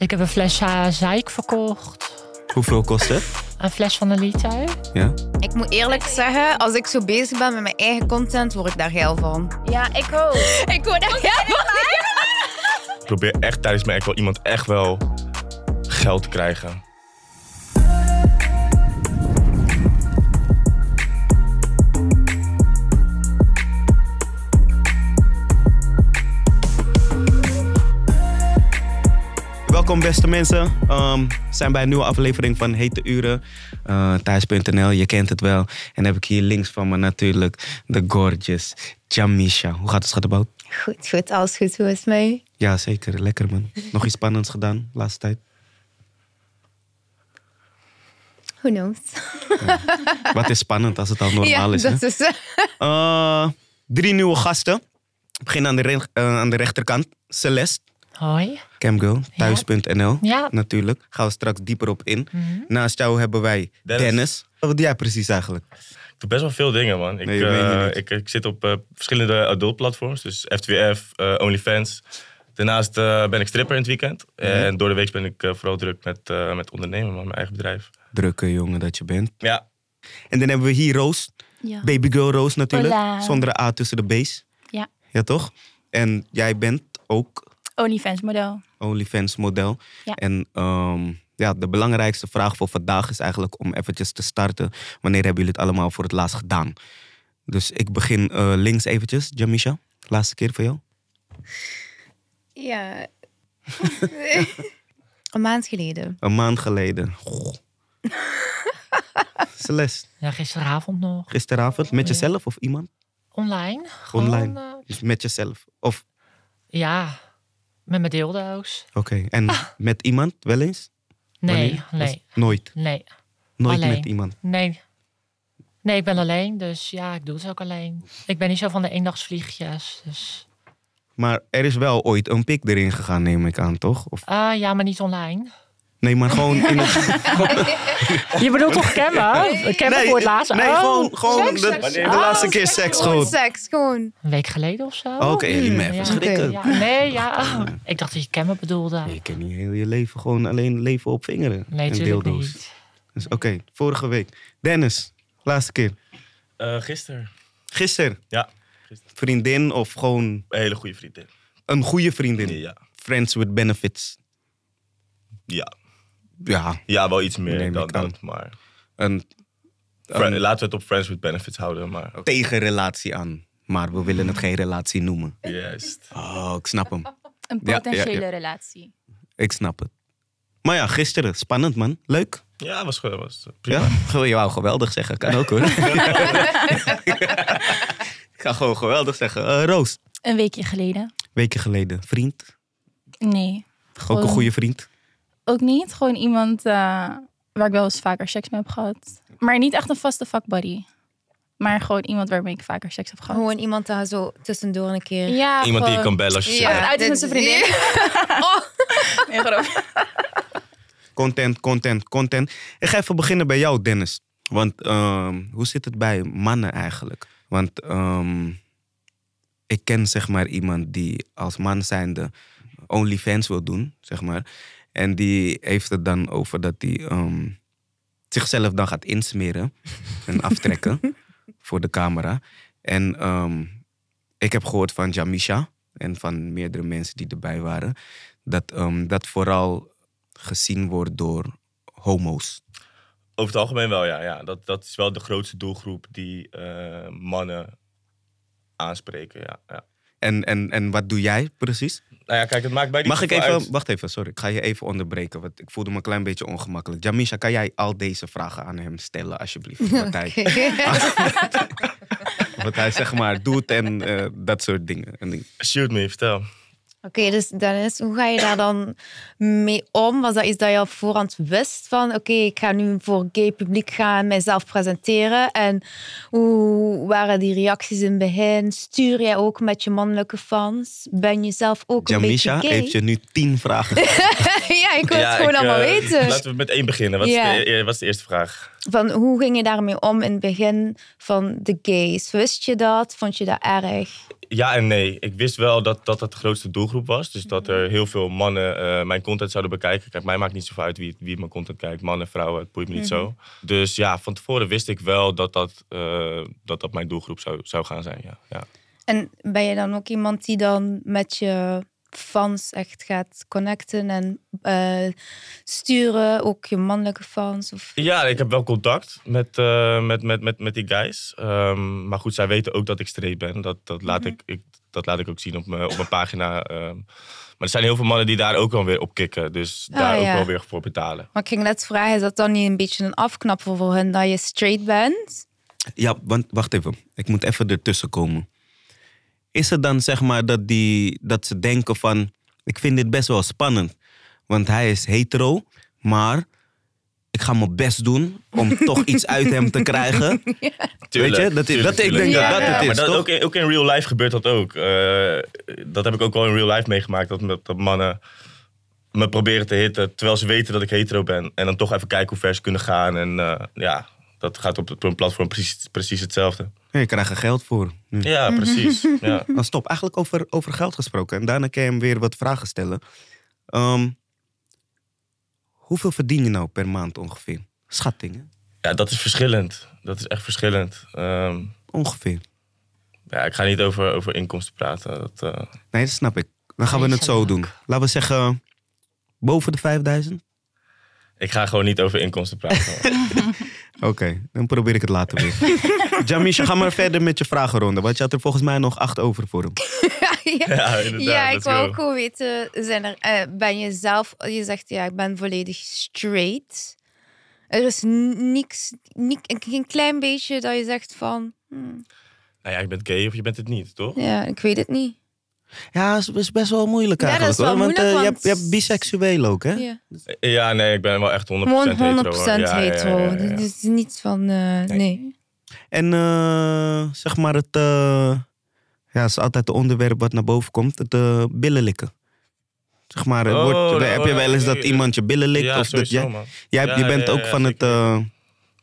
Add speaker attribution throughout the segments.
Speaker 1: Ik heb een fles eh, zeik verkocht.
Speaker 2: Hoeveel kost het?
Speaker 1: Een fles van een liter.
Speaker 2: Ja.
Speaker 3: Ik moet eerlijk zeggen, als ik zo bezig ben met mijn eigen content, word ik daar geil van.
Speaker 4: Ja, ik ook.
Speaker 3: Ik word daar geil van.
Speaker 5: Ik probeer echt tijdens mijn act wel iemand echt wel geld te krijgen.
Speaker 2: Welkom beste mensen. Ehm, we zijn bij een nieuwe aflevering van Hete Uren. Eh Thuis.nl, je kent het wel. En heb ik hier links van me natuurlijk de gorgeous Jamisha. Hoe gaat het schattenbout?
Speaker 3: Goed, goed, alles goed. Hoe is het met u?
Speaker 2: Ja, zeker. Lekker man. Nog iets spannends gedaan de laatste tijd?
Speaker 3: Who knows?
Speaker 2: Wat is spannend als het al normaal is. hè?
Speaker 3: dat is...
Speaker 2: Eh, drie nieuwe gasten. Ik begin aan de, re- eh, aan de rechterkant. Celeste,
Speaker 1: Hoi.
Speaker 2: Camgirl, thuis.nl.
Speaker 1: Ja.
Speaker 2: Natuurlijk. Gaan we straks dieper op in. Naast jou hebben wij Dennis.
Speaker 5: Dennis.
Speaker 2: Wat doe jij precies eigenlijk?
Speaker 5: Ik doe best wel veel dingen, man. Ik,
Speaker 2: Nee, dat meen je
Speaker 5: eh,
Speaker 2: niet.
Speaker 5: ik, ik zit op eh, verschillende adult platforms. Dus F2F, eh, OnlyFans. Daarnaast eh, ben ik stripper in het weekend.
Speaker 2: Mhm.
Speaker 5: En door de week ben ik eh, vooral druk met, eh, met ondernemen, man. Mijn eigen bedrijf.
Speaker 2: Drukke jongen dat je bent.
Speaker 5: Ja,
Speaker 2: En dan hebben we hier Roos.
Speaker 4: Ja.
Speaker 2: Baby girl Roos natuurlijk.
Speaker 4: Hola.
Speaker 2: Zonder de A tussen de B's.
Speaker 4: Ja.
Speaker 2: Ja toch? En jij bent ook
Speaker 4: OnlyFans model.
Speaker 2: OnlyFans model.
Speaker 4: Ja.
Speaker 2: En ehm, ja, de belangrijkste vraag voor vandaag is eigenlijk om eventjes te starten. Wanneer hebben jullie het allemaal voor het laatst gedaan? Dus ik begin eh, links eventjes. Jamisha, laatste keer voor jou.
Speaker 3: ja. Een maand geleden.
Speaker 2: Een maand geleden. Goh. Celeste,
Speaker 1: Ja, gisteravond nog.
Speaker 2: gisteravond met jezelf of iemand?
Speaker 1: Online. Gewoon,
Speaker 2: Online.
Speaker 1: eh,
Speaker 2: Dus met jezelf. Of,
Speaker 1: ja. Met mijn dildo's.
Speaker 2: oké. En met iemand wel eens?
Speaker 1: Ah. Nee,
Speaker 2: Wanneer?
Speaker 1: nee,
Speaker 2: Nooit.
Speaker 1: nee,
Speaker 2: Nooit
Speaker 1: Alleen.
Speaker 2: met iemand.
Speaker 1: nee. Nee, ik ben alleen. Dus ja, ik doe het ook alleen. Ik ben niet zo van de eendagsvliegjes. Dus.
Speaker 2: Maar er is wel ooit een pik erin gegaan, neem ik aan, toch? Of,
Speaker 1: Ah, ja, maar niet online.
Speaker 2: nee, maar gewoon in het...
Speaker 1: Je bedoelt toch cammen? Cammen voor het laatste?
Speaker 2: Nee,
Speaker 1: Oh,
Speaker 2: gewoon, gewoon
Speaker 1: seks,
Speaker 2: de,
Speaker 1: seks.
Speaker 2: de
Speaker 1: Oh,
Speaker 2: laatste keer seks
Speaker 3: Gewoon
Speaker 2: gewoon.
Speaker 3: seks, gewoon.
Speaker 1: Een week geleden of zo?
Speaker 2: Oh, Oké, jullie me even
Speaker 1: Ja.
Speaker 2: schrikken.
Speaker 1: Ja, nee, ja. oh. Ik dacht dat je cammen bedoelde.
Speaker 2: Je kan niet heel je leven gewoon alleen leven op vingeren.
Speaker 1: Nee,
Speaker 2: en
Speaker 1: natuurlijk
Speaker 2: dildo's.
Speaker 1: niet.
Speaker 2: Dus oké, vorige week. Dennis, laatste keer.
Speaker 5: eh gisteren.
Speaker 2: Gisteren,
Speaker 5: Ja,
Speaker 2: vriendin of gewoon
Speaker 5: een hele goede vriendin.
Speaker 2: een goede vriendin?
Speaker 5: Ja,
Speaker 2: Friends with benefits.
Speaker 5: ja.
Speaker 2: Ja,
Speaker 5: ja wel iets meer
Speaker 2: Neem ik
Speaker 5: dan
Speaker 2: aan. Oh,
Speaker 5: dat. Maar
Speaker 2: een
Speaker 5: Fri- laten we het op Friends with Benefits houden. Maar
Speaker 2: tegenrelatie aan. Maar we willen het geen relatie noemen.
Speaker 5: juist.
Speaker 2: Oh, ik snap hem.
Speaker 4: Een
Speaker 2: Ja, ja,
Speaker 4: potentiële
Speaker 2: ja.
Speaker 4: relatie.
Speaker 2: Ik snap het. Maar ja, gisteren. Spannend, man. Leuk.
Speaker 5: Ja, was, goed, was prima.
Speaker 2: Ja? Goh, Je wou geweldig zeggen. Kan ook, hoor. ik ga gewoon geweldig zeggen. Eh, Roos,
Speaker 4: Een weekje geleden.
Speaker 2: weken geleden. Vriend.
Speaker 4: Nee.
Speaker 2: Ook
Speaker 4: Gewoon-
Speaker 2: een goede vriend.
Speaker 4: Ook niet. Gewoon iemand eh, waar ik wel eens vaker seks mee heb gehad. Maar niet echt een vaste fuckbuddy. Maar gewoon iemand waarmee ik vaker seks heb gehad.
Speaker 3: Gewoon iemand daar zo tussendoor een keer.
Speaker 4: Ja,
Speaker 5: Iemand die je
Speaker 4: gewoon-
Speaker 5: kan bellen als je
Speaker 3: Ja.
Speaker 5: zin hebt.
Speaker 4: Uit is met zijn vriendin.
Speaker 3: Oh.
Speaker 4: Nee, grap.
Speaker 2: Content, content, content. Ik ga even beginnen bij jou, Dennis. Want ehm, hoe zit het bij mannen eigenlijk? Want ehm, ik ken zeg maar iemand die als man zijnde OnlyFans wil doen, zeg maar. En die heeft het dan over dat hij ehm, zichzelf dan gaat insmeren en aftrekken voor de camera. En ehm, ik heb gehoord van Jamisha en van meerdere mensen die erbij waren... dat ehm, dat vooral gezien wordt door homo's.
Speaker 5: Over het algemeen wel, ja. ja. Dat, dat is wel de grootste doelgroep die eh, mannen aanspreken, ja, ja.
Speaker 2: En, en, en wat doe jij precies?
Speaker 5: Nou ja, kijk, het maakt bij die
Speaker 2: Mag ik
Speaker 5: groep wel
Speaker 2: even,
Speaker 5: uit.
Speaker 2: wacht even, sorry, ik ga je even onderbreken, want ik voelde me een klein beetje ongemakkelijk. Jamisha, kan jij al deze vragen aan hem stellen, alsjeblieft? Wat hij,
Speaker 3: Oh.
Speaker 2: wat hij zeg maar doet en eh, dat soort dingen. En ik-
Speaker 5: Shoot me, vertel.
Speaker 3: Oké, dus Dennis, hoe ga je daar dan mee om? Was dat iets dat je op voorhand wist van, oké, ik ga nu voor gay publiek gaan, mijzelf presenteren? En hoe waren die reacties in het begin? Stuur jij ook met je mannelijke fans? Ben je zelf ook een
Speaker 2: Jamisha
Speaker 3: beetje gay?
Speaker 2: heeft je nu tien vragen.
Speaker 3: ja, Ja, ik wil
Speaker 5: Ja,
Speaker 3: het gewoon
Speaker 5: ik,
Speaker 3: allemaal
Speaker 5: eh,
Speaker 3: weten.
Speaker 5: Laten we met één beginnen. Wat,
Speaker 3: Ja.
Speaker 5: is de, eh, wat is de eerste vraag?
Speaker 3: Van hoe ging je daarmee om in het begin van de gays? Wist je dat? Vond je dat erg?
Speaker 5: Ja en nee. Ik wist wel dat dat, dat de grootste doelgroep was. Dus dat er heel veel mannen eh, mijn content zouden bekijken. Kijk, mij maakt niet zoveel uit wie, wie mijn content kijkt. Mannen, vrouwen, het boeit me
Speaker 3: Mhm.
Speaker 5: niet zo. Dus ja, van tevoren wist ik wel dat dat, eh, dat, dat mijn doelgroep zou, zou gaan zijn. Ja, ja.
Speaker 3: En ben je dan ook iemand die dan met je fans echt gaat connecten en eh, sturen? Ook je mannelijke fans? Of...
Speaker 5: Ja, ik heb wel contact met, eh, met, met, met, met die guys. Ehm, maar goed, zij weten ook dat ik straight ben. Dat, dat, laat, ik, ik, dat laat ik ook zien op mijn, op mijn pagina. ehm. maar er zijn heel veel mannen die daar ook wel weer op kicken. Dus
Speaker 3: Ah,
Speaker 5: daar
Speaker 3: ja.
Speaker 5: ook wel weer voor betalen.
Speaker 3: Maar ik ging net vragen, is dat dan niet een beetje een afknapper voor hen dat je straight bent?
Speaker 2: Ja, want wacht even. Ik moet even ertussen komen. Is het dan zeg maar dat, die, dat ze denken van... Ik vind dit best wel spannend. Want hij is hetero, maar... Ik ga mijn best doen om toch iets uit hem te krijgen. Weet je, dat is- dat- ik denk
Speaker 3: dat dat het
Speaker 5: maar
Speaker 2: is, toch?
Speaker 5: Ook, in- ook in real life gebeurt dat ook. Eh, dat heb ik ook wel in real life meegemaakt. Dat, me- dat mannen me proberen te hitten terwijl ze weten dat ik hetero ben. En dan toch even kijken hoe ver ze kunnen gaan. En eh, ja, dat gaat op het platform precies, precies hetzelfde.
Speaker 2: Je krijgt er geld voor. Ja.
Speaker 5: Ja,
Speaker 3: Mhm.
Speaker 5: precies. Ja.
Speaker 2: Maar stop, eigenlijk over, over geld gesproken. En daarna kan je hem weer wat vragen stellen. Ehm, hoeveel verdien je nou per maand ongeveer? Schattingen,
Speaker 5: ja, dat is verschillend. Dat is echt verschillend. Ehm,
Speaker 2: ongeveer.
Speaker 5: ja, ik ga niet over, over inkomsten praten. Dat, eh,
Speaker 2: Nee, dat snap ik. Dan gaan we
Speaker 1: Nee,
Speaker 2: het zo
Speaker 1: zo
Speaker 2: doen.
Speaker 1: leuk.
Speaker 2: Laten we zeggen, boven de 5000?
Speaker 5: ik ga gewoon niet over inkomsten praten.
Speaker 2: Oké, dan probeer ik het later weer. Jamisha, ga maar verder met je vragenronde. Want je had er volgens mij nog acht over voor hem.
Speaker 5: ja, inderdaad.
Speaker 3: Ja, ik
Speaker 5: let's
Speaker 3: wou
Speaker 5: go.
Speaker 3: ook gewoon weten, zijn er, eh, ben je zelf, je zegt ja, ik ben volledig straight. Er is n- niks, niek- geen klein beetje dat je zegt van, hmm,
Speaker 5: Nou ja, je bent gay of je bent het niet, toch?
Speaker 3: ja, ik weet het niet.
Speaker 2: Ja, dat is- is best wel moeilijk
Speaker 3: Ja, dat is
Speaker 2: eigenlijk.
Speaker 3: wel
Speaker 2: hoor. want
Speaker 3: moeilijk,
Speaker 2: eh, je, hebt,
Speaker 3: want-
Speaker 2: je hebt biseksueel ook, hè?
Speaker 3: Ja.
Speaker 5: Ja, nee, ik ben wel echt 100%
Speaker 3: Gewoon 100%
Speaker 5: hetero. hoor. Ja, ja, ja, ja,
Speaker 3: hetero.
Speaker 5: ja.
Speaker 3: Dit is niet van, eh, nee.
Speaker 2: En eh, zeg maar het... eh, ja, dat is altijd het onderwerp wat naar boven komt. Het eh, billen likken. Zeg maar, het
Speaker 5: Oh,
Speaker 2: wordt,
Speaker 5: dat-
Speaker 2: heb je wel eens
Speaker 5: oh, ja,
Speaker 2: dat
Speaker 5: ja,
Speaker 2: iemand je billen likt?
Speaker 5: Ja,
Speaker 2: of dat
Speaker 5: sowieso,
Speaker 2: jij,
Speaker 5: man.
Speaker 2: jij,
Speaker 5: Ja,
Speaker 2: je bent
Speaker 5: ja,
Speaker 2: ook
Speaker 5: ja,
Speaker 2: van het...
Speaker 5: zeker.
Speaker 2: eh,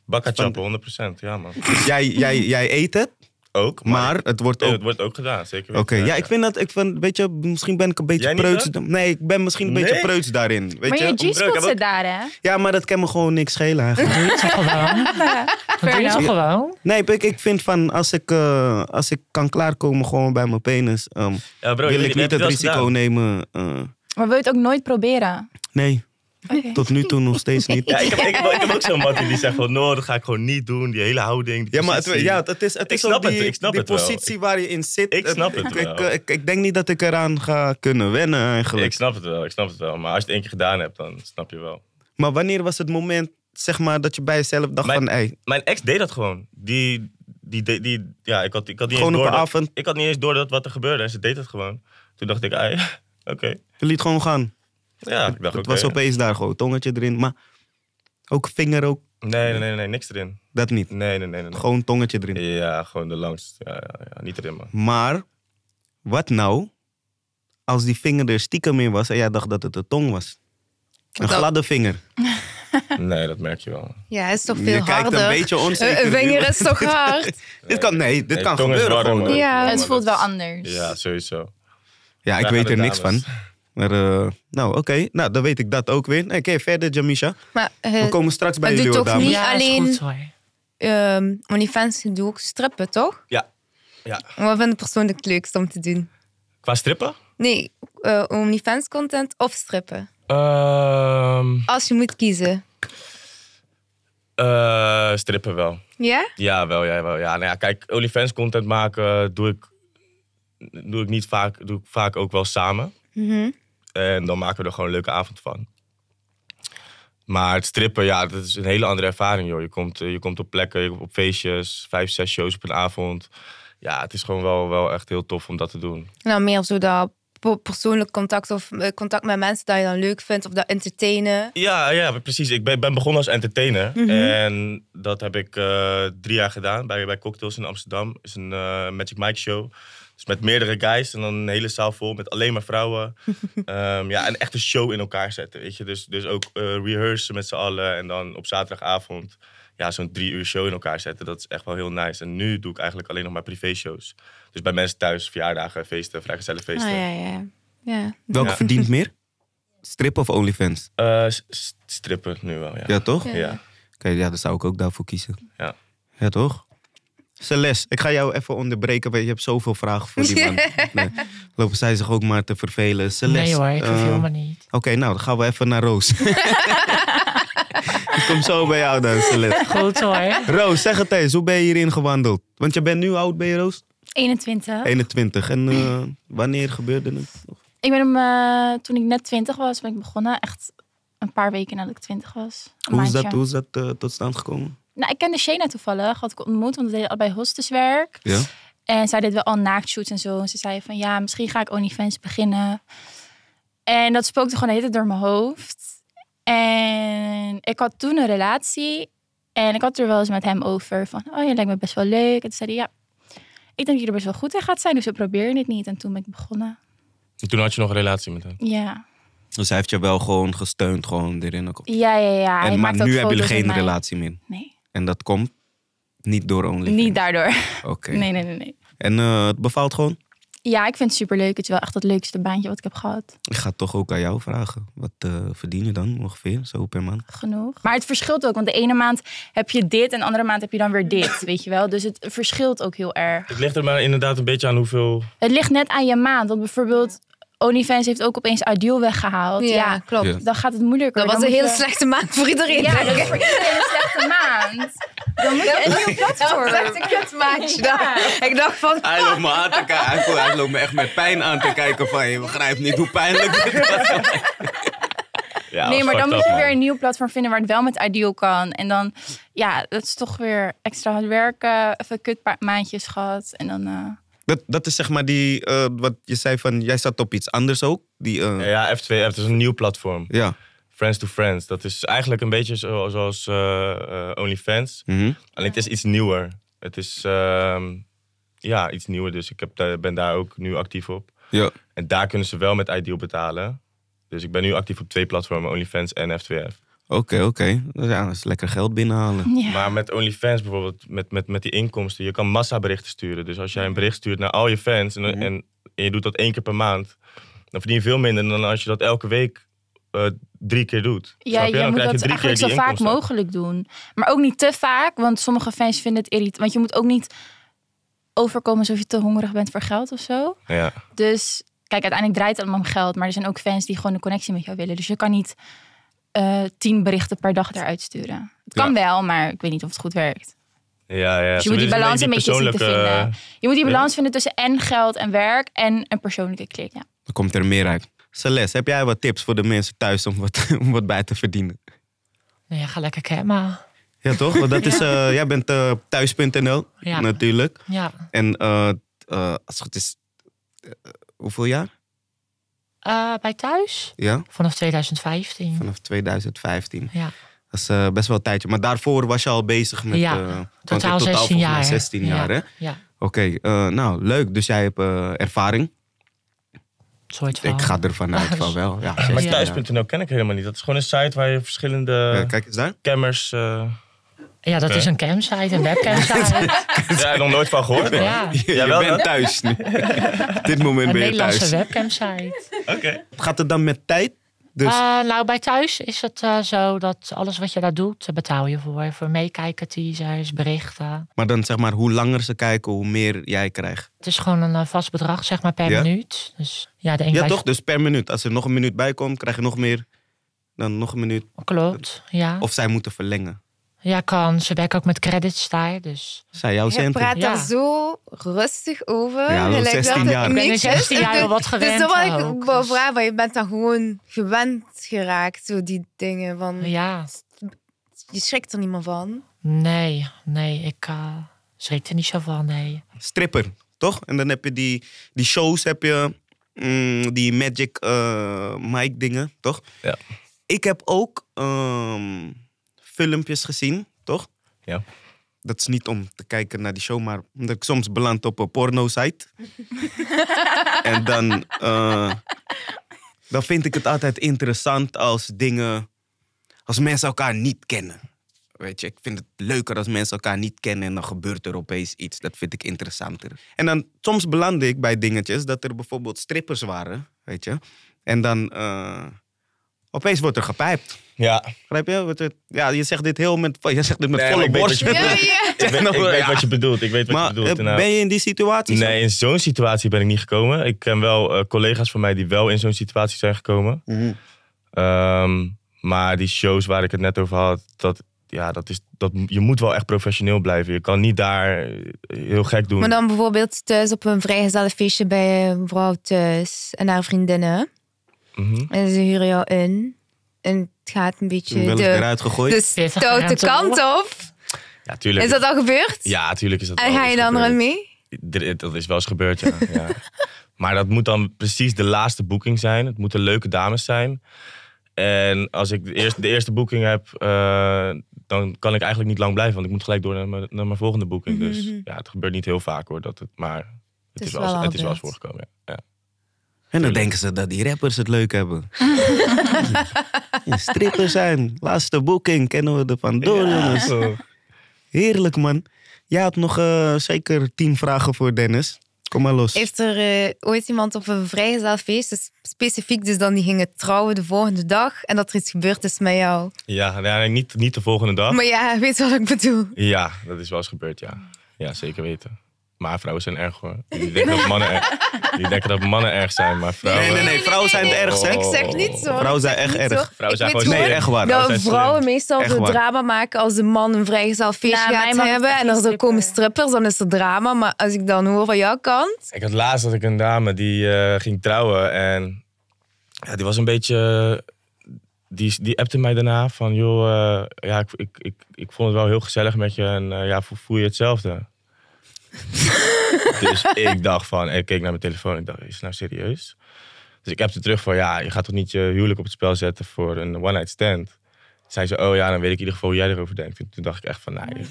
Speaker 5: Bakkachappen, 100%. Ja, man.
Speaker 2: jij, jij, jij eet het,
Speaker 5: Ook, maar...
Speaker 2: maar het wordt
Speaker 5: Nee,
Speaker 2: ook
Speaker 5: dat wordt ook gedaan, zeker.
Speaker 2: Oké,
Speaker 5: weten.
Speaker 2: ja, ik vind dat, ik vind, weet je, misschien ben ik een beetje
Speaker 5: Jij niet,
Speaker 2: preuts.
Speaker 5: hè?
Speaker 2: da- Nee, ik ben misschien een beetje
Speaker 5: Nee?
Speaker 2: preuts daarin. Weet
Speaker 4: Maar je
Speaker 2: je?
Speaker 5: Breuk,
Speaker 4: G-spot
Speaker 5: heb
Speaker 4: zit
Speaker 5: ook-
Speaker 4: daar, hè?
Speaker 2: Ja, maar dat kan me gewoon niks schelen eigenlijk.
Speaker 1: Doe je het toch gewoon? Dat doe je het toch gewoon?
Speaker 2: Nee, ik, ik vind van, als ik, eh, als ik kan klaarkomen gewoon bij mijn penis, ehm,
Speaker 5: Ja, bro,
Speaker 2: wil
Speaker 5: je-
Speaker 2: ik
Speaker 5: je
Speaker 2: niet
Speaker 5: hebt
Speaker 2: het
Speaker 5: wel
Speaker 2: risico
Speaker 5: gedaan.
Speaker 2: nemen. eh,
Speaker 4: Maar wil je het ook nooit proberen?
Speaker 2: nee,
Speaker 4: Oké.
Speaker 2: tot nu toe nog steeds niet.
Speaker 5: Ja, ik heb, ik, heb, ik heb ook zo'n mattie die zegt van, no, dat ga ik gewoon niet doen. Die hele houding, die
Speaker 2: Ja, maar het,
Speaker 5: positie.
Speaker 2: ja, het is, het
Speaker 5: Ik
Speaker 2: is
Speaker 5: snap
Speaker 2: ook
Speaker 5: het,
Speaker 2: die,
Speaker 5: ik snap
Speaker 2: die
Speaker 5: het wel.
Speaker 2: positie waar je in zit.
Speaker 5: Ik snap het
Speaker 2: ik, Ik,
Speaker 5: wel.
Speaker 2: ik, ik denk niet dat ik eraan ga kunnen wennen eigenlijk.
Speaker 5: Ik snap het wel, ik snap het wel. Maar als je het één keer gedaan hebt, dan snap je wel.
Speaker 2: Maar wanneer was het moment, zeg maar, dat je bij jezelf dacht
Speaker 5: Mijn-
Speaker 2: van, hey,
Speaker 5: Mijn ex deed dat gewoon. Die, die, die, die- ja, ik had, ik had niet
Speaker 2: Gewoon
Speaker 5: eens
Speaker 2: op
Speaker 5: door
Speaker 2: een
Speaker 5: dat-
Speaker 2: avond?
Speaker 5: Ik had niet eens door dat wat er gebeurde. En ze deed het gewoon. Toen dacht ik, ai, oké.
Speaker 2: je liet gewoon gaan.
Speaker 5: Ja, ik dacht,
Speaker 2: Het
Speaker 5: oké.
Speaker 2: was opeens daar gewoon, tongetje erin. Maar ook vinger, ook
Speaker 5: Nee, nee, nee, nee, niks erin.
Speaker 2: dat niet.
Speaker 5: Nee, nee, nee, nee. nee.
Speaker 2: Gewoon tongetje erin.
Speaker 5: Ja, gewoon de langste. Ja, ja, ja, niet erin, man.
Speaker 2: Maar wat nou als die vinger er stiekem in was en jij dacht dat het de tong was? Een
Speaker 3: Dat-
Speaker 2: gladde vinger.
Speaker 5: Nee, dat merk je wel.
Speaker 3: Ja, is toch veel
Speaker 2: Je kijkt
Speaker 3: harder.
Speaker 2: een beetje onzeker.
Speaker 3: Eh, een vinger is toch hard?
Speaker 2: dit kan, nee, dit
Speaker 5: Nee,
Speaker 2: kan
Speaker 5: tong is
Speaker 2: gebeuren
Speaker 5: warm,
Speaker 2: gewoon.
Speaker 5: hoor.
Speaker 3: Ja.
Speaker 5: maar
Speaker 4: Het voelt wel
Speaker 5: dat-
Speaker 4: anders.
Speaker 5: Ja, sowieso.
Speaker 2: Ja, ik
Speaker 5: Daar
Speaker 2: weet
Speaker 5: gaan
Speaker 2: er
Speaker 5: de
Speaker 2: niks van.
Speaker 5: dames.
Speaker 2: Maar, eh, nou, oké. Nou, dan weet ik dat ook weer. Oké, verder, Jamisha.
Speaker 3: Maar
Speaker 2: We
Speaker 3: eh
Speaker 2: komen straks bij
Speaker 3: maar doe
Speaker 2: jullie, hoor,
Speaker 3: toch
Speaker 2: dames.
Speaker 3: Niet
Speaker 1: Ja, is
Speaker 3: alleen-
Speaker 1: goed hoor.
Speaker 3: ehm OnlyFans doe ook strippen, toch?
Speaker 5: Ja. ja.
Speaker 3: Wat vind je persoonlijk het leukst om te doen?
Speaker 5: Qua strippen?
Speaker 3: Nee, eh OnlyFans content of strippen?
Speaker 5: Ehm,
Speaker 3: Als je moet kiezen.
Speaker 5: eh, strippen wel.
Speaker 3: Ja?
Speaker 5: Ja, wel, jij wel. Ja, nou ja, kijk, OnlyFans content maken doe ik, doe ik niet vaak. Doe ik vaak ook wel samen.
Speaker 3: Mhm.
Speaker 5: En dan maken we er gewoon een leuke avond van. Maar het strippen, ja, dat is een hele andere ervaring, joh. Je komt, eh, je komt op plekken, je komt op feestjes, vijf, zes shows op een avond. Ja, het is gewoon wel, wel echt heel tof om dat te doen.
Speaker 3: Nou, meer zo dat po- persoonlijk contact of eh, contact met mensen dat je dan leuk vindt of dat entertainen.
Speaker 5: Ja, ja maar precies. Ik ben, ben begonnen als entertainer. En dat heb ik eh, drie jaar gedaan bij, bij Cocktails in Amsterdam. is een eh, Magic Mike show. Dus met meerdere guys en dan een hele zaal vol met alleen maar vrouwen. Ehm, ja, en echt een show in elkaar zetten, weet je. Dus, dus ook eh rehearsen met z'n allen en dan op zaterdagavond ja, zo'n drie uur show in elkaar zetten. Dat is echt wel heel nice. En nu doe ik eigenlijk alleen nog maar privé-shows. Dus bij mensen thuis, verjaardagen, feesten, vrijgezellenfeesten.
Speaker 3: Oh, ja, ja. ja.
Speaker 2: Welke
Speaker 5: Ja.
Speaker 2: verdient meer? Strip of OnlyFans?
Speaker 5: Eh, s- s- strippen nu wel, ja.
Speaker 2: Ja, toch? Oké,
Speaker 5: Ja.
Speaker 2: ja, daar zou ik ook daarvoor kiezen.
Speaker 5: Ja.
Speaker 2: Ja, toch? Celeste, ik ga jou even onderbreken, want je hebt zoveel vragen voor die man. Nee, lopen zij zich ook maar te vervelen. Celeste,
Speaker 1: Nee hoor, ik verveel
Speaker 2: eh,
Speaker 1: me niet.
Speaker 2: Oké, nou, dan gaan we even naar Roos. ik kom zo bij jou dan, Celeste.
Speaker 1: Goed hoor.
Speaker 2: Roos, zeg het eens, hoe ben je hierin gewandeld? Want je bent nu oud, ben je Roos?
Speaker 4: 21.
Speaker 2: 21. En eh, wanneer gebeurde het?
Speaker 4: Ik ben hem, eh, toen ik net 20 was, ben ik begonnen. Echt een paar weken nadat ik 20 was. Een
Speaker 2: Hoe is
Speaker 4: maandje.
Speaker 2: dat, hoe is dat eh, tot stand gekomen?
Speaker 4: Nou, ik kende Shayna toevallig. Had ik ontmoet, want we deden allebei hosteswerk.
Speaker 2: Ja.
Speaker 4: En zij deed wel al naaktshoots en zo. En ze zei van, ja, misschien ga ik OnlyFans beginnen. En dat spookte gewoon de hele tijd door mijn hoofd. En ik had toen een relatie. En ik had het er wel eens met hem over. Van, oh, je lijkt me best wel leuk. En toen zei hij, ja, ik denk dat je er best wel goed in gaat zijn. Dus we proberen dit niet. En toen ben ik begonnen.
Speaker 5: En Toen had je nog een relatie met hem.
Speaker 4: Ja,
Speaker 2: Dus hij heeft je wel gewoon gesteund, gewoon erin. ook.
Speaker 4: ja, ja. ja. Hij
Speaker 2: en, maar
Speaker 4: maakt ook
Speaker 2: nu hebben jullie
Speaker 4: foto's met
Speaker 2: geen
Speaker 4: mij.
Speaker 2: relatie meer.
Speaker 4: Nee,
Speaker 2: En dat komt niet door OnlyFans?
Speaker 4: niet daardoor.
Speaker 2: Oké.
Speaker 4: Nee, nee, nee, nee.
Speaker 2: En eh, het bevalt gewoon?
Speaker 4: Ja, ik vind het superleuk. Het is wel echt het leukste baantje wat ik heb gehad.
Speaker 2: Ik ga het toch ook aan jou vragen. Wat eh, verdien je dan ongeveer, zo per maand?
Speaker 4: Genoeg. Maar het verschilt ook. Want de ene maand heb je dit en de andere maand heb je dan weer dit. Weet je wel? Dus het verschilt ook heel erg.
Speaker 5: Het ligt er maar inderdaad een beetje aan hoeveel...
Speaker 4: Het ligt net aan je maand. Want bijvoorbeeld OnlyFans heeft ook opeens Ideal weggehaald. Ja.
Speaker 3: Ja, klopt.
Speaker 2: Ja.
Speaker 4: Dan gaat het moeilijker.
Speaker 3: Dat was
Speaker 4: Dan
Speaker 3: een
Speaker 4: moet
Speaker 3: hele
Speaker 4: je-
Speaker 3: slechte maand voor iedereen.
Speaker 4: Ja, dat is voor iedereen een slechte maand. Dan moet je een nieuw platform.
Speaker 3: Dat is echt een kutmaatje. Ik dacht van,
Speaker 5: Ah,
Speaker 2: Hij loopt me aan te kijken. Hij loopt me echt met pijn aan te kijken. Van, je begrijpt niet hoe pijnlijk dit was.
Speaker 5: Ja,
Speaker 4: Nee,
Speaker 5: dat
Speaker 4: maar
Speaker 5: is
Speaker 4: dan moet
Speaker 5: fucked
Speaker 4: je
Speaker 5: up,
Speaker 4: weer een
Speaker 5: man.
Speaker 4: nieuw platform vinden waar het wel met Ideal kan. En dan, ja, dat is toch weer extra hard werken. Even kut paar maandjes gehad. En dan... eh,
Speaker 2: Dat, dat is zeg maar die, eh, wat je zei van, jij zat op iets anders ook. Die, eh, ja.
Speaker 5: Ja, F2F, dat is een nieuw platform. Friends to Friends. Dat is eigenlijk een beetje zo- zoals eh, eh, OnlyFans.
Speaker 2: Mhm.
Speaker 5: Alleen het is iets nieuwer. Het is ehm, ja, iets nieuwer. Dus ik heb, daar- ben daar ook nu actief op.
Speaker 2: ja.
Speaker 5: En daar kunnen ze wel met Ideal betalen. Dus ik ben nu actief op twee platformen, OnlyFans en F2F.
Speaker 2: Oké, oké. Ja, dat is lekker geld binnenhalen.
Speaker 4: ja.
Speaker 5: Maar met OnlyFans bijvoorbeeld, met, met, met die inkomsten, je kan massaberichten sturen. Dus als jij
Speaker 4: Mhm.
Speaker 5: een bericht stuurt naar al je fans en, en, en je doet dat één keer per maand, dan verdien je veel minder dan als je dat elke week eh, drie keer doet.
Speaker 4: Ja,
Speaker 5: Snap je?
Speaker 4: je,
Speaker 5: Dan
Speaker 4: moet
Speaker 5: krijg
Speaker 4: dat
Speaker 5: drie keer
Speaker 4: eigenlijk zo
Speaker 5: die
Speaker 4: vaak
Speaker 5: inkomsten.
Speaker 4: mogelijk doen. Maar ook niet te vaak, want sommige fans vinden het irritant. Want je moet ook niet overkomen alsof je te hongerig bent voor geld of zo.
Speaker 5: Ja.
Speaker 4: Dus kijk, uiteindelijk draait het allemaal om geld. Maar er zijn ook fans die gewoon een connectie met jou willen. Dus je kan niet eh, tien berichten per dag eruit sturen. Het kan wel, maar ik weet niet of het goed werkt.
Speaker 5: Ja, ja.
Speaker 4: Dus je moet die balans een beetje zien te vinden.
Speaker 5: eh,
Speaker 4: Je moet die
Speaker 5: ja.
Speaker 4: balans vinden tussen en geld en werk en een persoonlijke klik. Ja.
Speaker 2: Dan komt er meer uit. Celeste, heb jij wat tips voor de mensen thuis om wat, om wat bij te verdienen?
Speaker 1: Nee, ga lekker cammen.
Speaker 2: Ja, toch? Want dat is, eh, jij bent eh, thuis.nl
Speaker 1: Ja.
Speaker 2: natuurlijk.
Speaker 1: Ja.
Speaker 2: En eh, eh, als het goed is, eh, hoeveel jaar?
Speaker 1: Eh, bij thuis?
Speaker 2: Ja,
Speaker 1: Vanaf 2015.
Speaker 2: vanaf 2015.
Speaker 1: Ja.
Speaker 2: Dat is eh, best wel een tijdje. Maar daarvoor was je al bezig met...
Speaker 1: Ja,
Speaker 2: eh, want je
Speaker 1: Totaal 16
Speaker 2: volgens mij
Speaker 1: jaar.
Speaker 2: 16 jaar,
Speaker 1: ja.
Speaker 2: hè?
Speaker 1: Ja,
Speaker 2: Oké, eh, nou, leuk. Dus jij hebt eh, ervaring.
Speaker 1: soort van.
Speaker 2: Ik ga ervan uit van wel. Ja, 16
Speaker 5: Maar
Speaker 2: jaar.
Speaker 5: thuis.nl ken ik helemaal niet. Dat is gewoon een site waar je verschillende
Speaker 2: Ja, Eh, kijk eens daar.
Speaker 5: cammers... eh
Speaker 1: Ja, dat
Speaker 5: Oké.
Speaker 1: is
Speaker 2: Eh.
Speaker 1: een camsite, een webcamsite.
Speaker 5: ja, nog nooit van gehoord. man.
Speaker 1: ja,
Speaker 2: Je, je
Speaker 5: Jawel,
Speaker 2: bent
Speaker 5: hè?
Speaker 2: thuis nu. Op dit moment
Speaker 1: een
Speaker 2: ben je
Speaker 1: Nederlandse
Speaker 2: thuis.
Speaker 1: webcamsite.
Speaker 5: Oké.
Speaker 2: Gaat het dan met tijd? Dus,
Speaker 1: Eh, nou, bij thuis is het eh, zo dat alles wat je daar doet, daar betaal je voor. Voor meekijken, teasers, berichten.
Speaker 2: maar dan zeg maar, hoe langer ze kijken, hoe meer jij krijgt.
Speaker 1: Het is gewoon een eh, vast bedrag, zeg maar, per
Speaker 2: Ja?
Speaker 1: minuut. Dus ja, de een
Speaker 2: Ja,
Speaker 1: bij-
Speaker 2: toch? Dus per minuut. Als er nog een minuut bij komt, krijg je nog meer. Dan nog een minuut.
Speaker 1: Klopt, ja.
Speaker 2: Of zij moeten verlengen.
Speaker 1: Ja, kan. Ze werken ook met credits daar, dus...
Speaker 2: Zij jouw
Speaker 3: je
Speaker 2: centen.
Speaker 3: praat daar
Speaker 1: Ja.
Speaker 3: zo rustig over.
Speaker 2: Ja, hallo,
Speaker 3: Gelijk dat
Speaker 2: 16
Speaker 3: het
Speaker 2: jaar.
Speaker 1: Ik ben
Speaker 3: niks
Speaker 1: in 16
Speaker 3: is.
Speaker 1: jaar
Speaker 3: Dus-
Speaker 1: wel wat
Speaker 3: Dus
Speaker 1: gewend
Speaker 3: dat wat ik
Speaker 1: ook,
Speaker 3: wou
Speaker 1: dus-
Speaker 3: vragen, want je bent dan gewoon gewend geraakt door die dingen. Van,
Speaker 1: Ja,
Speaker 3: Je schrikt er niet meer van.
Speaker 1: nee, nee, ik eh, schrik er niet zo van, nee.
Speaker 2: Stripper, toch? En dan heb je die, die shows, heb je mm, die Magic eh Mike dingen, toch?
Speaker 5: Ja.
Speaker 2: Ik heb ook ehm, filmpjes gezien, toch?
Speaker 5: Ja.
Speaker 2: dat is niet om te kijken naar die show, maar omdat ik soms beland op een porno-site. en dan, eh, dan vind ik het altijd interessant als dingen, als mensen elkaar niet kennen. Weet je, ik vind het leuker als mensen elkaar niet kennen en dan gebeurt er opeens iets. Dat vind ik interessanter. En dan soms belandde ik bij dingetjes dat er bijvoorbeeld strippers waren, weet je. En dan eh, opeens wordt er gepijpt.
Speaker 5: Ja,
Speaker 2: Begrijp je? Wordt er- Ja, je zegt dit heel met, je zegt dit met
Speaker 5: Nee, maar
Speaker 2: volle
Speaker 5: ik weet wat
Speaker 2: borst.
Speaker 5: je
Speaker 3: Ja, ja.
Speaker 5: ik weet, ik weet wat je bedoelt. Ik weet wat
Speaker 2: Maar
Speaker 5: je bedoelt.
Speaker 2: eh,
Speaker 5: inderdaad.
Speaker 2: ben je in die situatie?
Speaker 5: Nee, in zo'n situatie ben ik niet gekomen. Ik ken wel eh, collega's van mij die wel in zo'n situatie zijn gekomen.
Speaker 2: Mhm.
Speaker 5: Ehm, maar die shows waar ik het net over had, dat, ja, dat is, dat, je moet wel echt professioneel blijven. Je kan niet daar eh, heel gek doen.
Speaker 3: Maar dan bijvoorbeeld thuis op een vrijgezellenfeestje bij een vrouw thuis en haar vriendinnen.
Speaker 5: Mhm.
Speaker 3: En ze huren jou in. En het gaat een beetje
Speaker 2: Wel eens
Speaker 3: de,
Speaker 2: eruit gegooid?
Speaker 3: de
Speaker 1: Pittig
Speaker 3: stoute
Speaker 1: eraan te
Speaker 3: kant op.
Speaker 5: Ja, tuurlijk.
Speaker 3: Is dat al gebeurd?
Speaker 5: Ja, tuurlijk is dat
Speaker 3: En
Speaker 5: wel
Speaker 3: ga je
Speaker 5: eens
Speaker 3: dan
Speaker 5: gebeurd.
Speaker 3: erin mee?
Speaker 5: D- Dat is wel eens gebeurd, ja. ja. Maar dat moet dan precies de laatste boeking zijn. Het moeten leuke dames zijn. En als ik de eerste, de eerste boeking heb, eh, dan kan ik eigenlijk niet lang blijven. Want ik moet gelijk door naar mijn, naar mijn volgende boeking. Dus
Speaker 3: Mhm.
Speaker 5: ja, het gebeurt niet heel vaak hoor. Dat het, maar het, is,
Speaker 3: is
Speaker 5: wel,
Speaker 3: wel
Speaker 5: eens-
Speaker 3: al
Speaker 5: het is wel eens
Speaker 3: gebeurd.
Speaker 5: voorgekomen. Ja. Ja.
Speaker 2: En dan denken ze dat die rappers het leuk hebben. Strippers zijn. Laatste boeking kennen we er vandoor, Oh, jongens.
Speaker 5: Zo.
Speaker 2: Heerlijk, man. Jij had nog eh, zeker tien vragen voor Dennis. Kom maar los.
Speaker 3: Heeft er eh, ooit iemand op een vrijgezellenfeest, dus specifiek dus dan die gingen trouwen de volgende dag en dat er iets gebeurd is met jou?
Speaker 5: Ja, nou ja, niet, niet de volgende
Speaker 2: Oh.
Speaker 5: dag.
Speaker 3: Maar ja, weet wat ik bedoel.
Speaker 5: Ja, dat is wel eens gebeurd, ja. Ja, zeker weten. Maar vrouwen zijn erg hoor. Die denken dat mannen erg, die denken dat mannen erg zijn, maar vrouwen...
Speaker 2: Nee, nee, nee. Vrouwen zijn het ergst, hè?
Speaker 3: Ik zeg niet zo.
Speaker 2: Vrouwen zijn
Speaker 3: Ik zeg
Speaker 2: echt
Speaker 3: niet
Speaker 2: erg.
Speaker 3: zo.
Speaker 5: Vrouwen
Speaker 3: Ik
Speaker 5: zijn
Speaker 3: weet
Speaker 5: gewoon
Speaker 2: Nee,
Speaker 3: gewoon
Speaker 2: echt waar.
Speaker 5: slim. Vrouwen
Speaker 3: Dat
Speaker 5: zijn slim.
Speaker 3: vrouwen meestal
Speaker 2: Echt
Speaker 3: zo
Speaker 2: waar.
Speaker 3: drama maken als de man een vrijgezellenfeest
Speaker 4: Nou, mijn man
Speaker 3: gaat
Speaker 4: is
Speaker 3: hebben.
Speaker 4: echt
Speaker 3: En
Speaker 4: geen
Speaker 3: als er komen
Speaker 4: stripper.
Speaker 3: strippers, dan is er drama. Maar als ik dan hoor van jouw kant...
Speaker 5: Ik had laatst had ik een dame die eh, ging trouwen en ja, die was een beetje. Die, die appte mij daarna van joh, eh, ja, ik, ik, ik, ik vond het wel heel gezellig met je en eh, ja, vo- voel je hetzelfde? dus ik dacht van, ik keek naar mijn telefoon en ik dacht, is het nou serieus? Dus ik heb ze terug van, ja, je gaat toch niet je huwelijk op het spel zetten voor een one night stand? Zei ze, oh ja, dan weet ik in ieder geval hoe jij erover denkt. En toen dacht ik echt van, nee, je,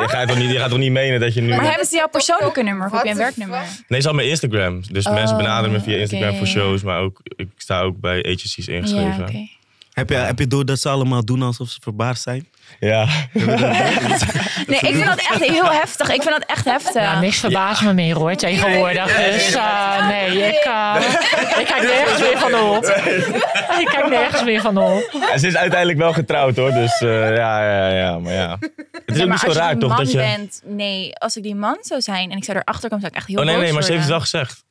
Speaker 5: je gaat toch niet, je gaat toch niet menen dat je nu...
Speaker 4: Maar hebben ze jouw persoonlijke nummer of heb je een werknummer?
Speaker 5: Nee, ze had mijn Instagram. Dus
Speaker 4: Oh,
Speaker 5: mensen benaderen me via
Speaker 4: oké,
Speaker 5: Instagram voor
Speaker 4: ja.
Speaker 5: shows. Maar ook, ik sta ook bij agencies ingeschreven. Ja,
Speaker 4: oké.
Speaker 2: Heb, je, heb je door dat ze allemaal doen alsof ze verbaasd zijn?
Speaker 4: Nee, ik vind dat echt heel heftig. Ik vind dat echt heftig.
Speaker 1: Ja, niks verbaast me meer hoor, tegenwoordig. Dus eh, nee, ik, eh, ik kijk nergens meer van op. Ik kijk nergens meer van op.
Speaker 5: En ze is uiteindelijk wel getrouwd hoor. Dus eh, ja, ja, ja. Maar ja. Het is
Speaker 4: maar
Speaker 5: ook niet zo
Speaker 4: als je
Speaker 5: raar
Speaker 4: die
Speaker 5: toch
Speaker 4: man
Speaker 5: dat je...
Speaker 4: bent, nee, als ik die man zou zijn en ik zou erachter komen, zou ik echt heel
Speaker 5: oh nee,
Speaker 4: boos
Speaker 5: nee, maar ze heeft het wel
Speaker 4: worden.
Speaker 5: gezegd.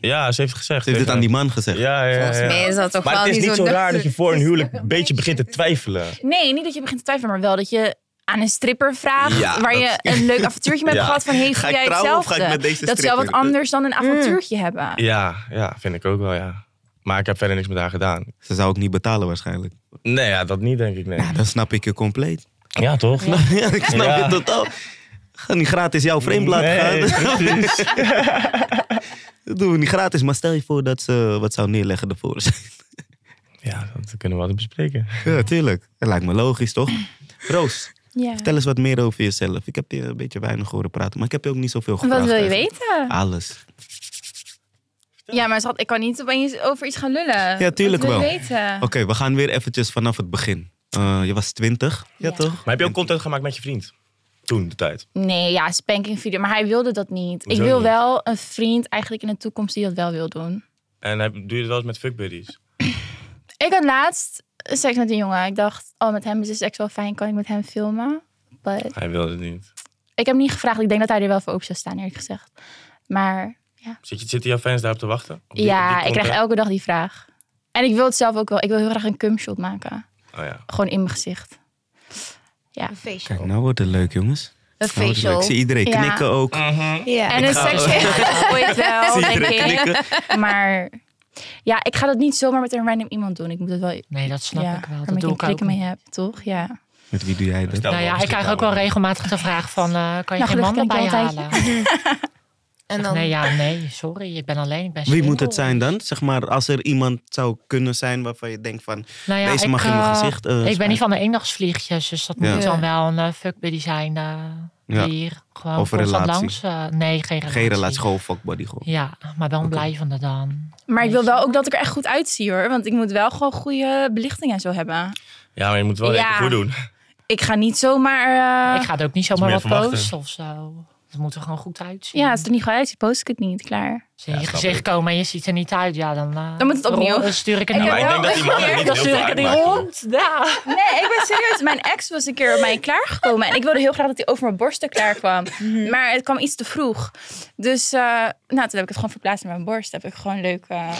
Speaker 5: Ja, ze heeft het gezegd.
Speaker 2: Ze heeft dit aan die man gezegd.
Speaker 5: Ja, ja, ja.
Speaker 3: Volgens mij is dat toch
Speaker 5: maar
Speaker 3: wel
Speaker 5: het is
Speaker 3: niet
Speaker 5: niet zo
Speaker 3: zo
Speaker 5: raar dat je
Speaker 3: nuchter.
Speaker 5: voor een huwelijk een beetje begint te twijfelen.
Speaker 4: Nee, niet dat je begint te twijfelen, maar wel dat je aan een stripper vraagt
Speaker 2: Ja,
Speaker 4: waar
Speaker 2: dat-
Speaker 4: je een leuk avontuurtje mee hebt
Speaker 5: Ja.
Speaker 4: gehad van hey,
Speaker 2: Ga
Speaker 4: voel
Speaker 2: ik
Speaker 4: jij
Speaker 2: trouwen of ga
Speaker 4: hetzelfde?
Speaker 2: ik met deze
Speaker 4: dat is wel wat
Speaker 2: stripper? Mm.
Speaker 4: anders dan een avontuurtje hebben.
Speaker 5: Ja, ja, vind ik ook wel, ja. Maar ik heb verder niks met haar gedaan.
Speaker 2: Ze zou ook niet betalen waarschijnlijk.
Speaker 5: Nee, ja, dat niet denk ik, nee.
Speaker 2: Ja, dan snap ik je compleet.
Speaker 5: Ja, toch?
Speaker 2: Ja, ik snap
Speaker 5: Ja.
Speaker 2: je totaal. Ga niet gratis jouw frameblad
Speaker 5: Nee,
Speaker 2: gaan. Dat doen we niet gratis, maar stel je voor dat ze wat zou neerleggen ervoor.
Speaker 5: Ja, dat kunnen we altijd bespreken.
Speaker 2: Ja, tuurlijk. Dat lijkt me logisch, toch? Roos,
Speaker 4: Ja.
Speaker 2: vertel eens wat meer over jezelf. Ik heb je een beetje weinig horen praten, maar ik heb je ook niet zoveel gevraagd.
Speaker 4: Wat wil je
Speaker 2: eigenlijk.
Speaker 4: weten?
Speaker 2: Alles.
Speaker 4: Ja, maar schat, ik kan niet opeens over iets gaan lullen.
Speaker 2: Ja, tuurlijk
Speaker 4: Wat wil je
Speaker 2: wel.
Speaker 4: weten?
Speaker 2: Oké, we gaan weer eventjes vanaf het begin. Eh, je was twintig, ja,
Speaker 4: Ja.
Speaker 2: toch?
Speaker 5: Maar heb je ook content gemaakt met je vriend? Toen, de tijd.
Speaker 4: Nee, ja, spanking video. Maar hij wilde dat niet.
Speaker 5: Hoezo
Speaker 4: ik wil
Speaker 5: niet?
Speaker 4: wel een vriend eigenlijk in de toekomst die dat wel wil doen.
Speaker 5: En heb- doe je dat wel eens met fuckbuddies?
Speaker 4: Ik had laatst seks met een jongen. Ik dacht, oh, met hem is de seks wel fijn. Kan ik met hem filmen? But
Speaker 5: Hij wilde het niet.
Speaker 4: ik heb hem niet gevraagd. Ik denk dat hij er wel voor open zou staan, eerlijk gezegd. Maar
Speaker 5: Zit je, zitten jouw fans daarop te wachten? Op die- op
Speaker 4: ja,
Speaker 5: die
Speaker 4: ik krijg
Speaker 5: content?
Speaker 4: elke dag die vraag. En ik wil het zelf ook wel. Ik wil heel graag een cumshot maken.
Speaker 5: Oh ja.
Speaker 4: Gewoon in mijn gezicht.
Speaker 3: Een
Speaker 2: Kijk,
Speaker 3: facial.
Speaker 2: nou wordt het leuk, jongens.
Speaker 3: Een
Speaker 2: Nou wordt het leuk. Ik
Speaker 3: facial.
Speaker 2: zie iedereen
Speaker 4: Ja.
Speaker 2: knikken ook.
Speaker 5: Mhm.
Speaker 3: Ja.
Speaker 4: En een
Speaker 2: ga-
Speaker 4: seksje ooit wel,
Speaker 2: zie
Speaker 4: denk
Speaker 2: iedereen
Speaker 4: ik.
Speaker 2: knikken.
Speaker 4: Maar ja, ik ga dat niet zomaar met een random iemand doen. Ik moet het wel...
Speaker 1: Nee, dat snap
Speaker 4: ja,
Speaker 1: ik wel. Dat
Speaker 4: waarmee
Speaker 1: doe
Speaker 4: een
Speaker 1: ik ook.
Speaker 4: klik mee heb, toch? Ja.
Speaker 2: Met wie doe jij dat?
Speaker 5: Stel
Speaker 1: Nou
Speaker 5: maar,
Speaker 1: ja, ik
Speaker 5: stel
Speaker 1: krijg ook
Speaker 5: maar.
Speaker 1: wel regelmatig de vraag van, eh, kan je
Speaker 4: Nou,
Speaker 1: geen man
Speaker 4: gelukkig
Speaker 1: erbij
Speaker 4: ken ik je
Speaker 1: halen?
Speaker 3: En
Speaker 1: Zeg,
Speaker 3: dan,
Speaker 1: Nee, ja, nee, sorry, ik ben alleen. Ik ben
Speaker 2: Wie moet
Speaker 1: single.
Speaker 2: het zijn dan? Zeg maar, als er iemand zou kunnen zijn waarvan je denkt van...
Speaker 1: Nou ja,
Speaker 2: Deze
Speaker 1: ik,
Speaker 2: mag in mijn
Speaker 1: eh,
Speaker 2: gezicht, eh,
Speaker 1: ik ben
Speaker 2: spuiten.
Speaker 1: niet van de eendagsvliegjes, dus dat
Speaker 2: Ja.
Speaker 1: moet
Speaker 3: Ja.
Speaker 1: dan wel een eh, fuckbuddy zijn. eh,
Speaker 2: Ja.
Speaker 1: die Hier, gewoon
Speaker 2: Of een
Speaker 1: constant
Speaker 2: relatie.
Speaker 1: langs. eh, nee, geen relatie.
Speaker 2: Geen relatie, gewoon fuckbody gewoon.
Speaker 1: Ja, maar wel een blijvende dan.
Speaker 4: Maar ik wil wel ook dat ik er echt goed uitzie hoor. Want ik moet wel gewoon goede belichting en zo hebben.
Speaker 5: Ja, maar je moet wel
Speaker 4: Ja.
Speaker 5: even goed doen.
Speaker 4: Ik ga niet zomaar... eh,
Speaker 1: ik ga het ook niet
Speaker 5: moet
Speaker 1: zomaar
Speaker 5: je
Speaker 1: wat
Speaker 5: verwachten.
Speaker 1: posten of zo. Het moet er gewoon goed uitzien.
Speaker 4: Ja, als het er niet goed uitziet, post ik het niet. Klaar.
Speaker 1: Als ze in
Speaker 5: Ja,
Speaker 1: je
Speaker 5: snap
Speaker 1: gezicht
Speaker 5: ik.
Speaker 1: komen en je ziet er niet uit, ja, dan, eh,
Speaker 4: Dan moet het opnieuw.
Speaker 1: rol- stuur ik het
Speaker 4: Ik
Speaker 1: niet
Speaker 5: maar ik
Speaker 4: heb
Speaker 1: rond.
Speaker 5: denk dat die mannen niet
Speaker 1: Dan
Speaker 5: heel
Speaker 1: stuur
Speaker 5: veel
Speaker 1: ik het niet
Speaker 5: uitmaken.
Speaker 1: rond. Ja.
Speaker 4: Nee, ik ben serieus. Mijn ex was een keer op mij klaargekomen. En ik wilde heel graag dat hij over mijn borsten klaar kwam. Maar het kwam iets te vroeg. Dus eh, nou, toen heb ik het gewoon verplaatst naar mijn borst. Heb ik gewoon leuk... eh,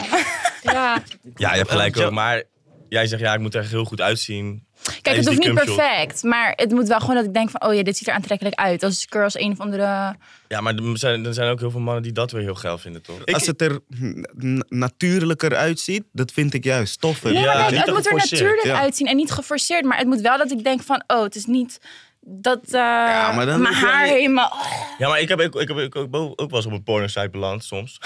Speaker 1: Ja.
Speaker 5: Ja, je hebt gelijk
Speaker 2: Eh,
Speaker 5: ook. Maar jij zegt, ja, ik moet er echt heel goed uitzien.
Speaker 4: Kijk, het
Speaker 5: Tijdens
Speaker 4: hoeft
Speaker 5: die
Speaker 4: niet
Speaker 5: cumshot.
Speaker 4: perfect. Maar het moet wel gewoon dat ik denk van... Oh ja, dit ziet er aantrekkelijk uit. Als ik er als een of andere...
Speaker 5: Ja, maar er zijn, er zijn ook heel veel mannen die dat weer heel geil vinden, toch?
Speaker 2: Als het er n- natuurlijker uitziet, dat vind ik juist toffer.
Speaker 5: Nee,
Speaker 4: Nee,
Speaker 5: Ja,
Speaker 4: maar
Speaker 5: niet
Speaker 4: kijk,
Speaker 5: te
Speaker 4: het moet er
Speaker 5: geforceerd,
Speaker 4: natuurlijk
Speaker 2: ja.
Speaker 4: uitzien en niet geforceerd. Maar het moet wel dat ik denk van, oh, het is niet dat eh,
Speaker 2: maar dan
Speaker 4: mijn
Speaker 2: moet je
Speaker 4: haar
Speaker 2: wel-
Speaker 4: helemaal...
Speaker 5: Ja, maar ik heb, ook- ik, heb ook- ook, wel- ook wel eens op een porno-site beland, soms.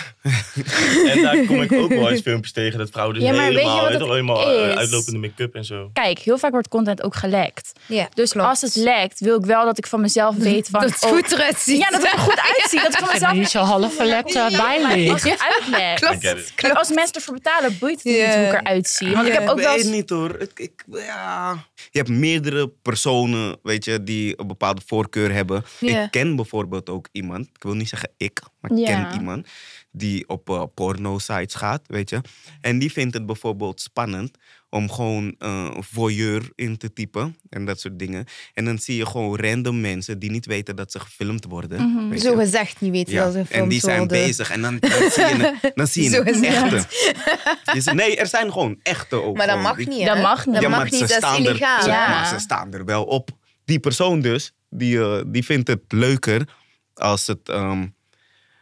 Speaker 5: en daar kom ik ook wel eens filmpjes tegen dat vrouwen dus
Speaker 4: Ja, maar weet je
Speaker 5: helemaal,
Speaker 4: wat
Speaker 5: weet
Speaker 4: het
Speaker 5: toch, helemaal eh,
Speaker 4: is?
Speaker 5: uitlopende make-up en zo.
Speaker 4: Kijk, heel vaak wordt content ook gelekt.
Speaker 3: ja,
Speaker 4: Dus
Speaker 3: klopt.
Speaker 4: als het lekt, wil ik wel dat ik van mezelf weet van...
Speaker 3: dat het
Speaker 4: oh,
Speaker 3: goed eruit ziet.
Speaker 4: Ja, dat het er goed uitziet. Dat ik van
Speaker 1: En
Speaker 4: mezelf...
Speaker 1: die zo half verlept eh, bij
Speaker 4: Als
Speaker 1: ligt.
Speaker 4: ik het uitleg.
Speaker 5: I get it.
Speaker 4: Kijk, als mensen ervoor betalen, boeit het
Speaker 3: Ja.
Speaker 4: niet hoe ik eruit zie. Want ik heb ook wel...
Speaker 2: weet
Speaker 4: eens-
Speaker 2: niet hoor. Ik, ik- ja. Je hebt meerdere personen, weet je, die een bepaalde voorkeur hebben.
Speaker 3: Ja.
Speaker 2: Ik ken bijvoorbeeld ook iemand, ik wil niet zeggen ik, maar ik
Speaker 4: Ja.
Speaker 2: ken iemand die op pornosites porno-sites gaat, weet je. En die vindt het bijvoorbeeld spannend om gewoon eh voyeur in te typen en dat soort dingen. En dan zie je gewoon random mensen die niet weten dat ze gefilmd worden.
Speaker 4: Mhm.
Speaker 2: weet
Speaker 3: Zo
Speaker 2: je.
Speaker 3: gezegd niet weten dat ze gefilmd
Speaker 2: En die zijn
Speaker 3: worden.
Speaker 2: bezig. En dan, dan zie je, het- dan zie je
Speaker 3: Zo
Speaker 2: het
Speaker 3: is het.
Speaker 2: echte. Je zegt, nee, er zijn gewoon echte ook.
Speaker 3: Maar dat
Speaker 2: gewoon.
Speaker 3: mag
Speaker 2: Die-
Speaker 3: niet, hè?
Speaker 4: Dat mag niet.
Speaker 3: Dat
Speaker 4: Ja,
Speaker 3: mag
Speaker 2: maar
Speaker 3: niet,
Speaker 2: ze
Speaker 3: dat is
Speaker 2: staan er-
Speaker 3: illegaal.
Speaker 2: ze-
Speaker 4: Ja.
Speaker 2: maar ze staan er wel op. Die persoon dus, die, eh, die vindt het leuker als het... ehm,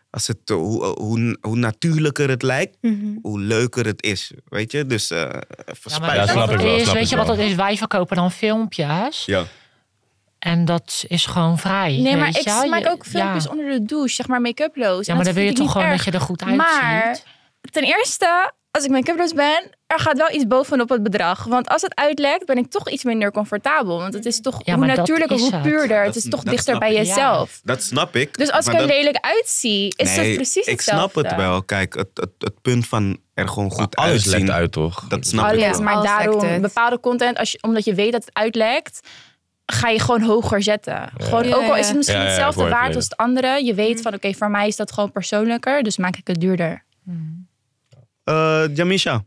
Speaker 2: als het eh, hoe, hoe, hoe natuurlijker het lijkt,
Speaker 4: Mhm.
Speaker 2: hoe leuker het is. Weet je? Dus eh
Speaker 1: Ja,
Speaker 2: verspuit
Speaker 1: maar
Speaker 5: Ja,
Speaker 1: weet je
Speaker 5: snap
Speaker 1: wat
Speaker 5: ik
Speaker 1: het
Speaker 5: wel,
Speaker 1: is?
Speaker 5: snap
Speaker 1: Weet
Speaker 5: ik
Speaker 1: je wat
Speaker 5: wel.
Speaker 1: het is? Wij verkopen dan filmpjes.
Speaker 2: Ja.
Speaker 1: En dat is gewoon vrij.
Speaker 4: Nee, maar
Speaker 1: weet
Speaker 4: ik
Speaker 1: je wel.
Speaker 4: maak
Speaker 1: Je-
Speaker 4: ook filmpjes
Speaker 1: ja.
Speaker 4: onder de douche, zeg maar make-uploos.
Speaker 1: Ja,
Speaker 4: En
Speaker 1: maar
Speaker 4: dat
Speaker 1: dan wil je
Speaker 4: vind ik
Speaker 1: toch
Speaker 4: niet
Speaker 1: gewoon
Speaker 4: erg.
Speaker 1: dat je er goed uitziet.
Speaker 4: Maar ten eerste, als ik make-uploos ben, er gaat wel iets bovenop het bedrag. Want als het uitlekt, ben ik toch iets minder comfortabel. Want het is toch
Speaker 1: Ja,
Speaker 4: hoe
Speaker 1: maar dat
Speaker 4: natuurlijker,
Speaker 1: is
Speaker 4: hoe
Speaker 1: het.
Speaker 4: puurder.
Speaker 2: Dat-
Speaker 4: Het is toch
Speaker 2: dat
Speaker 4: dichter
Speaker 2: snap
Speaker 4: bij
Speaker 2: ik.
Speaker 4: jezelf.
Speaker 2: Dat snap ik.
Speaker 4: Dus als ik
Speaker 2: maar
Speaker 4: er
Speaker 2: dat-
Speaker 4: lelijk uitzie, is
Speaker 2: Nee,
Speaker 4: het precies
Speaker 2: Ik
Speaker 4: hetzelfde.
Speaker 2: snap het wel. Kijk, het, het, het punt van er gewoon goed
Speaker 5: Alles lekt
Speaker 2: uitzien.
Speaker 5: uit, toch?
Speaker 2: Dat snap ik
Speaker 4: Alles,
Speaker 2: wel.
Speaker 4: Oh maar
Speaker 3: Alles lekt
Speaker 4: daarom
Speaker 3: het.
Speaker 4: bepaalde content, als je, omdat je weet dat het uitlekt, ga je gewoon hoger zetten. Gewoon,
Speaker 3: Ja,
Speaker 4: ook al
Speaker 3: ja.
Speaker 4: is het misschien
Speaker 5: Ja, ja, ik
Speaker 4: hetzelfde
Speaker 5: hoor je
Speaker 4: waard als het andere, je weet van oké, voor mij is dat gewoon persoonlijker, dus maak ik het duurder.
Speaker 2: Eh Jamisha,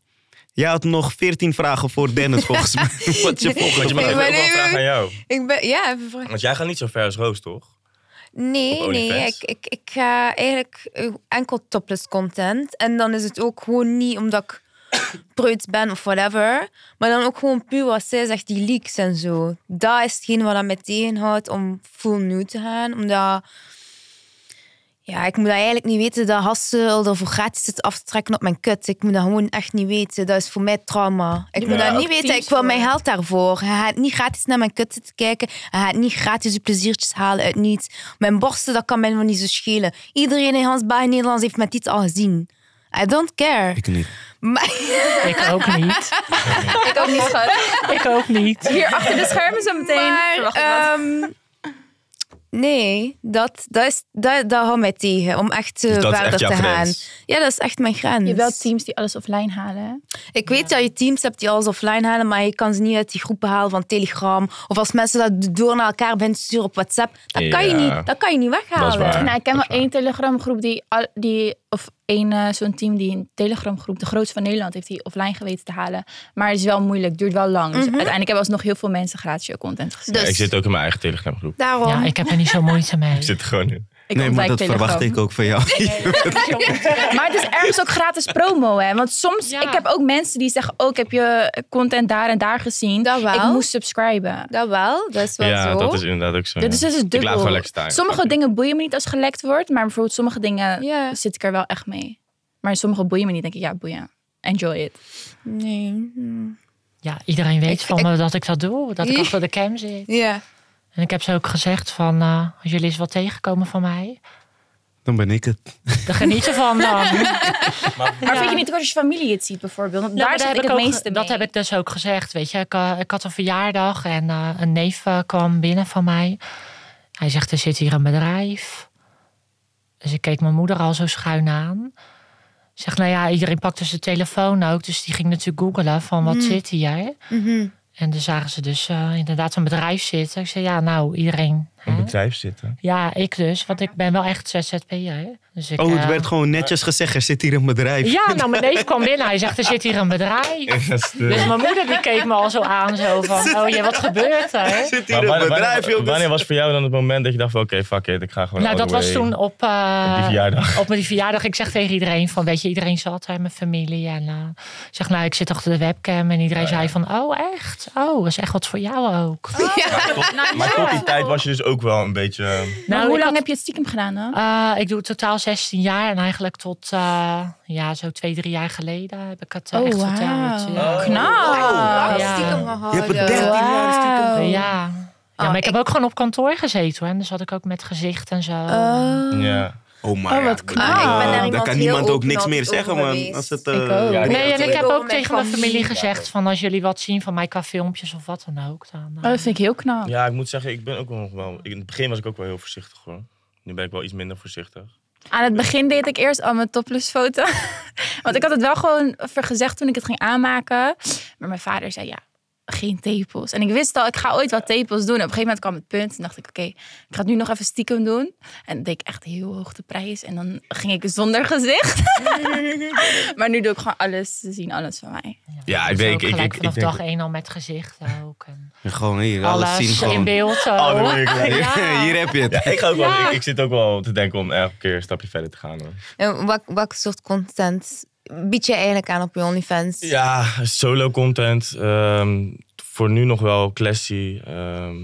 Speaker 2: jij had nog 14 vragen voor Dennis volgens mij. Wat je
Speaker 5: Want
Speaker 2: volgens
Speaker 5: je
Speaker 2: mij.
Speaker 5: mag ik
Speaker 3: maar
Speaker 5: ook wel
Speaker 3: nee,
Speaker 5: vragen aan jou.
Speaker 3: Ik ben, ja, even vragen.
Speaker 5: Want jij gaat niet zo ver als Roos, toch?
Speaker 3: Nee,
Speaker 5: Op
Speaker 3: nee.
Speaker 5: OnlyFans?
Speaker 3: Ik, ik, ik ga eigenlijk eh, enkel topless content. En dan is het ook gewoon niet omdat ik preuts ben of whatever. Maar dan ook gewoon puur wat zij zegt, die leaks en zo. Dat is hetgeen wat dat me tegenhoudt om full nude te gaan. Omdat... Ja, ik moet dat eigenlijk niet weten dat Hassel ervoor gratis zit af te trekken op mijn kut. Ik moet dat gewoon echt niet weten. Dat is voor mij trauma. Ik moet
Speaker 5: Ja.
Speaker 3: dat niet
Speaker 4: Ook
Speaker 3: weten.
Speaker 4: teams
Speaker 3: Ik wil mijn
Speaker 4: voor.
Speaker 3: geld daarvoor. Hij gaat niet gratis naar mijn kut zitten kijken. Hij gaat niet gratis je pleziertjes halen uit niets. Mijn borsten, dat kan mij nog niet zo schelen. Iedereen in Hans Baai Nederlands heeft met iets al gezien. I don't care.
Speaker 2: Ik niet.
Speaker 3: Maar-
Speaker 1: Ik ook niet.
Speaker 4: Ik ook niet schat.
Speaker 1: Ik ook niet.
Speaker 4: Hier achter de schermen zo meteen.
Speaker 3: Maar,
Speaker 4: Verwacht ik wat.
Speaker 3: ehm, nee, dat, dat, is, dat, dat houdt mij tegen om echt eh,
Speaker 5: Dus dat is
Speaker 3: verder
Speaker 5: echt jouw
Speaker 3: te gaan.
Speaker 5: grens.
Speaker 3: Ja, dat is echt mijn grens.
Speaker 4: je hebt wel teams die alles offline halen. hè?
Speaker 5: Ah,
Speaker 3: Ik weet dat je teams hebt die alles offline halen, maar je kan ze niet uit die groepen halen van Telegram. Of als mensen dat door naar elkaar beginnen te sturen op WhatsApp. Dat, kan, je
Speaker 5: Ja.
Speaker 3: niet, dat kan je niet weghalen.
Speaker 5: Dat is waar.
Speaker 4: Nou, ik ken
Speaker 5: dat
Speaker 4: wel
Speaker 5: is waar.
Speaker 4: één telegramgroep die, al- die of één eh, zo'n team die een telegramgroep, de grootste van Nederland, heeft die offline geweten te halen. Maar het is wel moeilijk, duurt wel lang.
Speaker 2: Mhm.
Speaker 4: Dus uiteindelijk hebben alsnog heel veel mensen gratis je content gezien.
Speaker 3: Dus
Speaker 5: Ja, ik zit ook in mijn eigen Telegram-groep.
Speaker 3: daarom.
Speaker 1: Ja, ik heb er niet zo moeite mee.
Speaker 5: Ik zit er gewoon in.
Speaker 4: Ik
Speaker 2: Nee, maar
Speaker 4: ontwijk
Speaker 2: dat
Speaker 4: Telegram.
Speaker 2: verwacht ik ook van jou.
Speaker 4: Maar het is ergens ook gratis promo, hè? Want soms,
Speaker 1: Ja.
Speaker 4: ik heb ook mensen die zeggen, oh, ik heb je content daar en daar gezien.
Speaker 3: Dat wel.
Speaker 4: Ik moest subscriben.
Speaker 3: Dat wel, dat is wel
Speaker 5: Ja,
Speaker 3: zo.
Speaker 5: dat is inderdaad ook zo.
Speaker 4: Dus
Speaker 5: ja.
Speaker 4: dat is
Speaker 5: Ik laat gewoon
Speaker 4: dubbel.
Speaker 5: lekker staan.
Speaker 4: Sommige dingen boeien me niet als gelekt wordt, maar bijvoorbeeld sommige dingen
Speaker 3: Ja.
Speaker 4: zit ik er wel echt mee. Maar sommige boeien me niet, denk ik, ja, boeien. Enjoy it.
Speaker 3: Nee.
Speaker 1: Ja, iedereen weet
Speaker 3: Ik-
Speaker 1: van
Speaker 3: ik-
Speaker 1: me dat ik dat doe. Dat ik
Speaker 3: Ja.
Speaker 1: achter de cam zit.
Speaker 3: Ja.
Speaker 1: En ik heb ze ook gezegd van... eh, als jullie eens wat tegenkomen van mij...
Speaker 2: Dan ben ik het.
Speaker 1: Daar geniet je van dan.
Speaker 4: Maar vind je niet ook als je familie het ziet bijvoorbeeld? Want
Speaker 1: Nou,
Speaker 4: daar
Speaker 1: maar
Speaker 4: zit
Speaker 1: daar
Speaker 4: ik het
Speaker 1: heb ik ook-
Speaker 4: meeste mee.
Speaker 1: Dat heb ik dus ook gezegd, weet je. Ik, eh, ik had een verjaardag en eh, een neef eh, kwam binnen van mij. Hij zegt, er zit hier een bedrijf. Dus ik keek mijn moeder al zo schuin aan. Ik Zeg, nou ja, iedereen pakte zijn telefoon ook. Dus die ging natuurlijk googelen van,
Speaker 4: Mm.
Speaker 1: wat zit hier?
Speaker 3: Mhm.
Speaker 1: En dan zagen ze dus eh, inderdaad een bedrijf zitten. Ik zei, ja, nou, iedereen... hè?
Speaker 5: Een bedrijf zitten.
Speaker 1: Ja, ik dus. Want ik ben wel echt ZZP'er. Dus ik,
Speaker 2: Oh, het
Speaker 1: eh,
Speaker 2: werd gewoon netjes gezegd. Er zit hier een bedrijf.
Speaker 1: Ja, nou, mijn neef kwam binnen. Hij zegt, er zit hier een bedrijf. Dus mijn moeder die keek me al zo aan, zo van, oh jee, wat gebeurt
Speaker 2: Er
Speaker 1: er?
Speaker 2: zit hier
Speaker 5: Maar
Speaker 2: een dus-
Speaker 5: wanneer,
Speaker 2: bedrijf,
Speaker 5: wanneer,
Speaker 2: jongens.
Speaker 5: wanneer was voor jou dan het moment dat je dacht van oké, fuck it, ik ga gewoon
Speaker 1: Nou,
Speaker 5: all
Speaker 1: dat
Speaker 5: the
Speaker 1: was
Speaker 5: way
Speaker 1: toen op, eh,
Speaker 5: op die verjaardag.
Speaker 1: op mijn verjaardag. Ik zeg tegen iedereen van, weet je, iedereen zat hè, mijn familie. En eh, ik zeg, nou, ik zit achter de webcam. En iedereen zei van, oh echt? Oh, dat is echt wat voor jou ook.
Speaker 5: Oh.
Speaker 1: Nou,
Speaker 5: Ah, Maar tot die tijd was je dus ook wel een beetje... ehm,
Speaker 4: Maar Nou, hoe
Speaker 1: Nou, ik
Speaker 4: lang
Speaker 1: had-
Speaker 4: heb je het stiekem gedaan dan?
Speaker 1: eh, ik doe het totaal 16 jaar. En eigenlijk tot, eh, ja, zo twee, drie jaar geleden heb ik
Speaker 4: Oh,
Speaker 1: het eh, echt verteld. Ja.
Speaker 5: Oh,
Speaker 4: Knap.
Speaker 1: Ja.
Speaker 3: Stiekem
Speaker 2: Je hebt
Speaker 3: gehouden.
Speaker 2: het 13 jaar stiekem.
Speaker 1: Ja.
Speaker 4: Wauw.
Speaker 1: ja,
Speaker 4: Oh,
Speaker 1: maar ik, heb ook gewoon op kantoor gezeten. Hoor. En dus had ik ook met gezicht en zo.
Speaker 5: Ja.
Speaker 2: Oh, maar
Speaker 4: Oh, wat
Speaker 2: ja,
Speaker 4: knap.
Speaker 2: maar,
Speaker 4: Ah, ik ben daar
Speaker 2: eh, Daar
Speaker 3: iemand
Speaker 2: kan
Speaker 3: heel
Speaker 2: niemand ook
Speaker 3: open
Speaker 2: niks
Speaker 3: altijd
Speaker 2: meer zeggen,
Speaker 3: over
Speaker 2: man.
Speaker 3: geweest.
Speaker 2: Als het,
Speaker 5: Ik
Speaker 2: eh,
Speaker 5: ook. Ja,
Speaker 1: Nee, en ik heb
Speaker 3: Ook
Speaker 1: ook
Speaker 3: met
Speaker 1: tegen mijn
Speaker 3: familie.
Speaker 1: familie gezegd van als jullie wat zien van mij qua filmpjes of wat dan ook. Dan, eh,
Speaker 4: Oh, dat vind ik heel knap.
Speaker 5: ja, ik moet zeggen, ik ben ook nog wel... ik- in het begin was ik ook wel heel voorzichtig hoor. Nu ben ik wel iets minder voorzichtig.
Speaker 4: Aan het begin deed ik eerst al mijn topless-foto. Want ik had het wel gewoon vergezegd toen ik het ging aanmaken. Maar mijn vader zei ja, geen tepels. En ik wist al, ik ga ooit wat tepels doen. Op een gegeven moment kwam het punt. En dacht ik, oké, ik ga het nu nog even stiekem doen. En dat deed ik echt heel hoog de prijs. En dan ging ik zonder gezicht. maar nu doe ik gewoon alles. Ze zien alles van mij.
Speaker 5: Ja, ik
Speaker 1: dus
Speaker 5: denk...
Speaker 1: ook
Speaker 5: Ik,
Speaker 1: gelijk
Speaker 5: ik, ik
Speaker 1: vanaf
Speaker 5: denk
Speaker 1: dag één al met gezicht ook. En
Speaker 2: Gewoon hier, alles,
Speaker 1: alles
Speaker 2: zien
Speaker 1: in
Speaker 2: gewoon.
Speaker 1: beeld. ook.
Speaker 5: Oh, dat wil ik wel.
Speaker 1: Ja.
Speaker 2: hier heb je het.
Speaker 5: Ja, ik, ga ook wel,
Speaker 1: Ja.
Speaker 5: ik, ik zit ook wel te denken om elke keer een stapje verder te gaan. Hoor.
Speaker 3: En wat, welk soort content bied je eigenlijk aan op je OnlyFans?
Speaker 5: Ja, solo content. ehm, voor nu nog wel classy. ehm.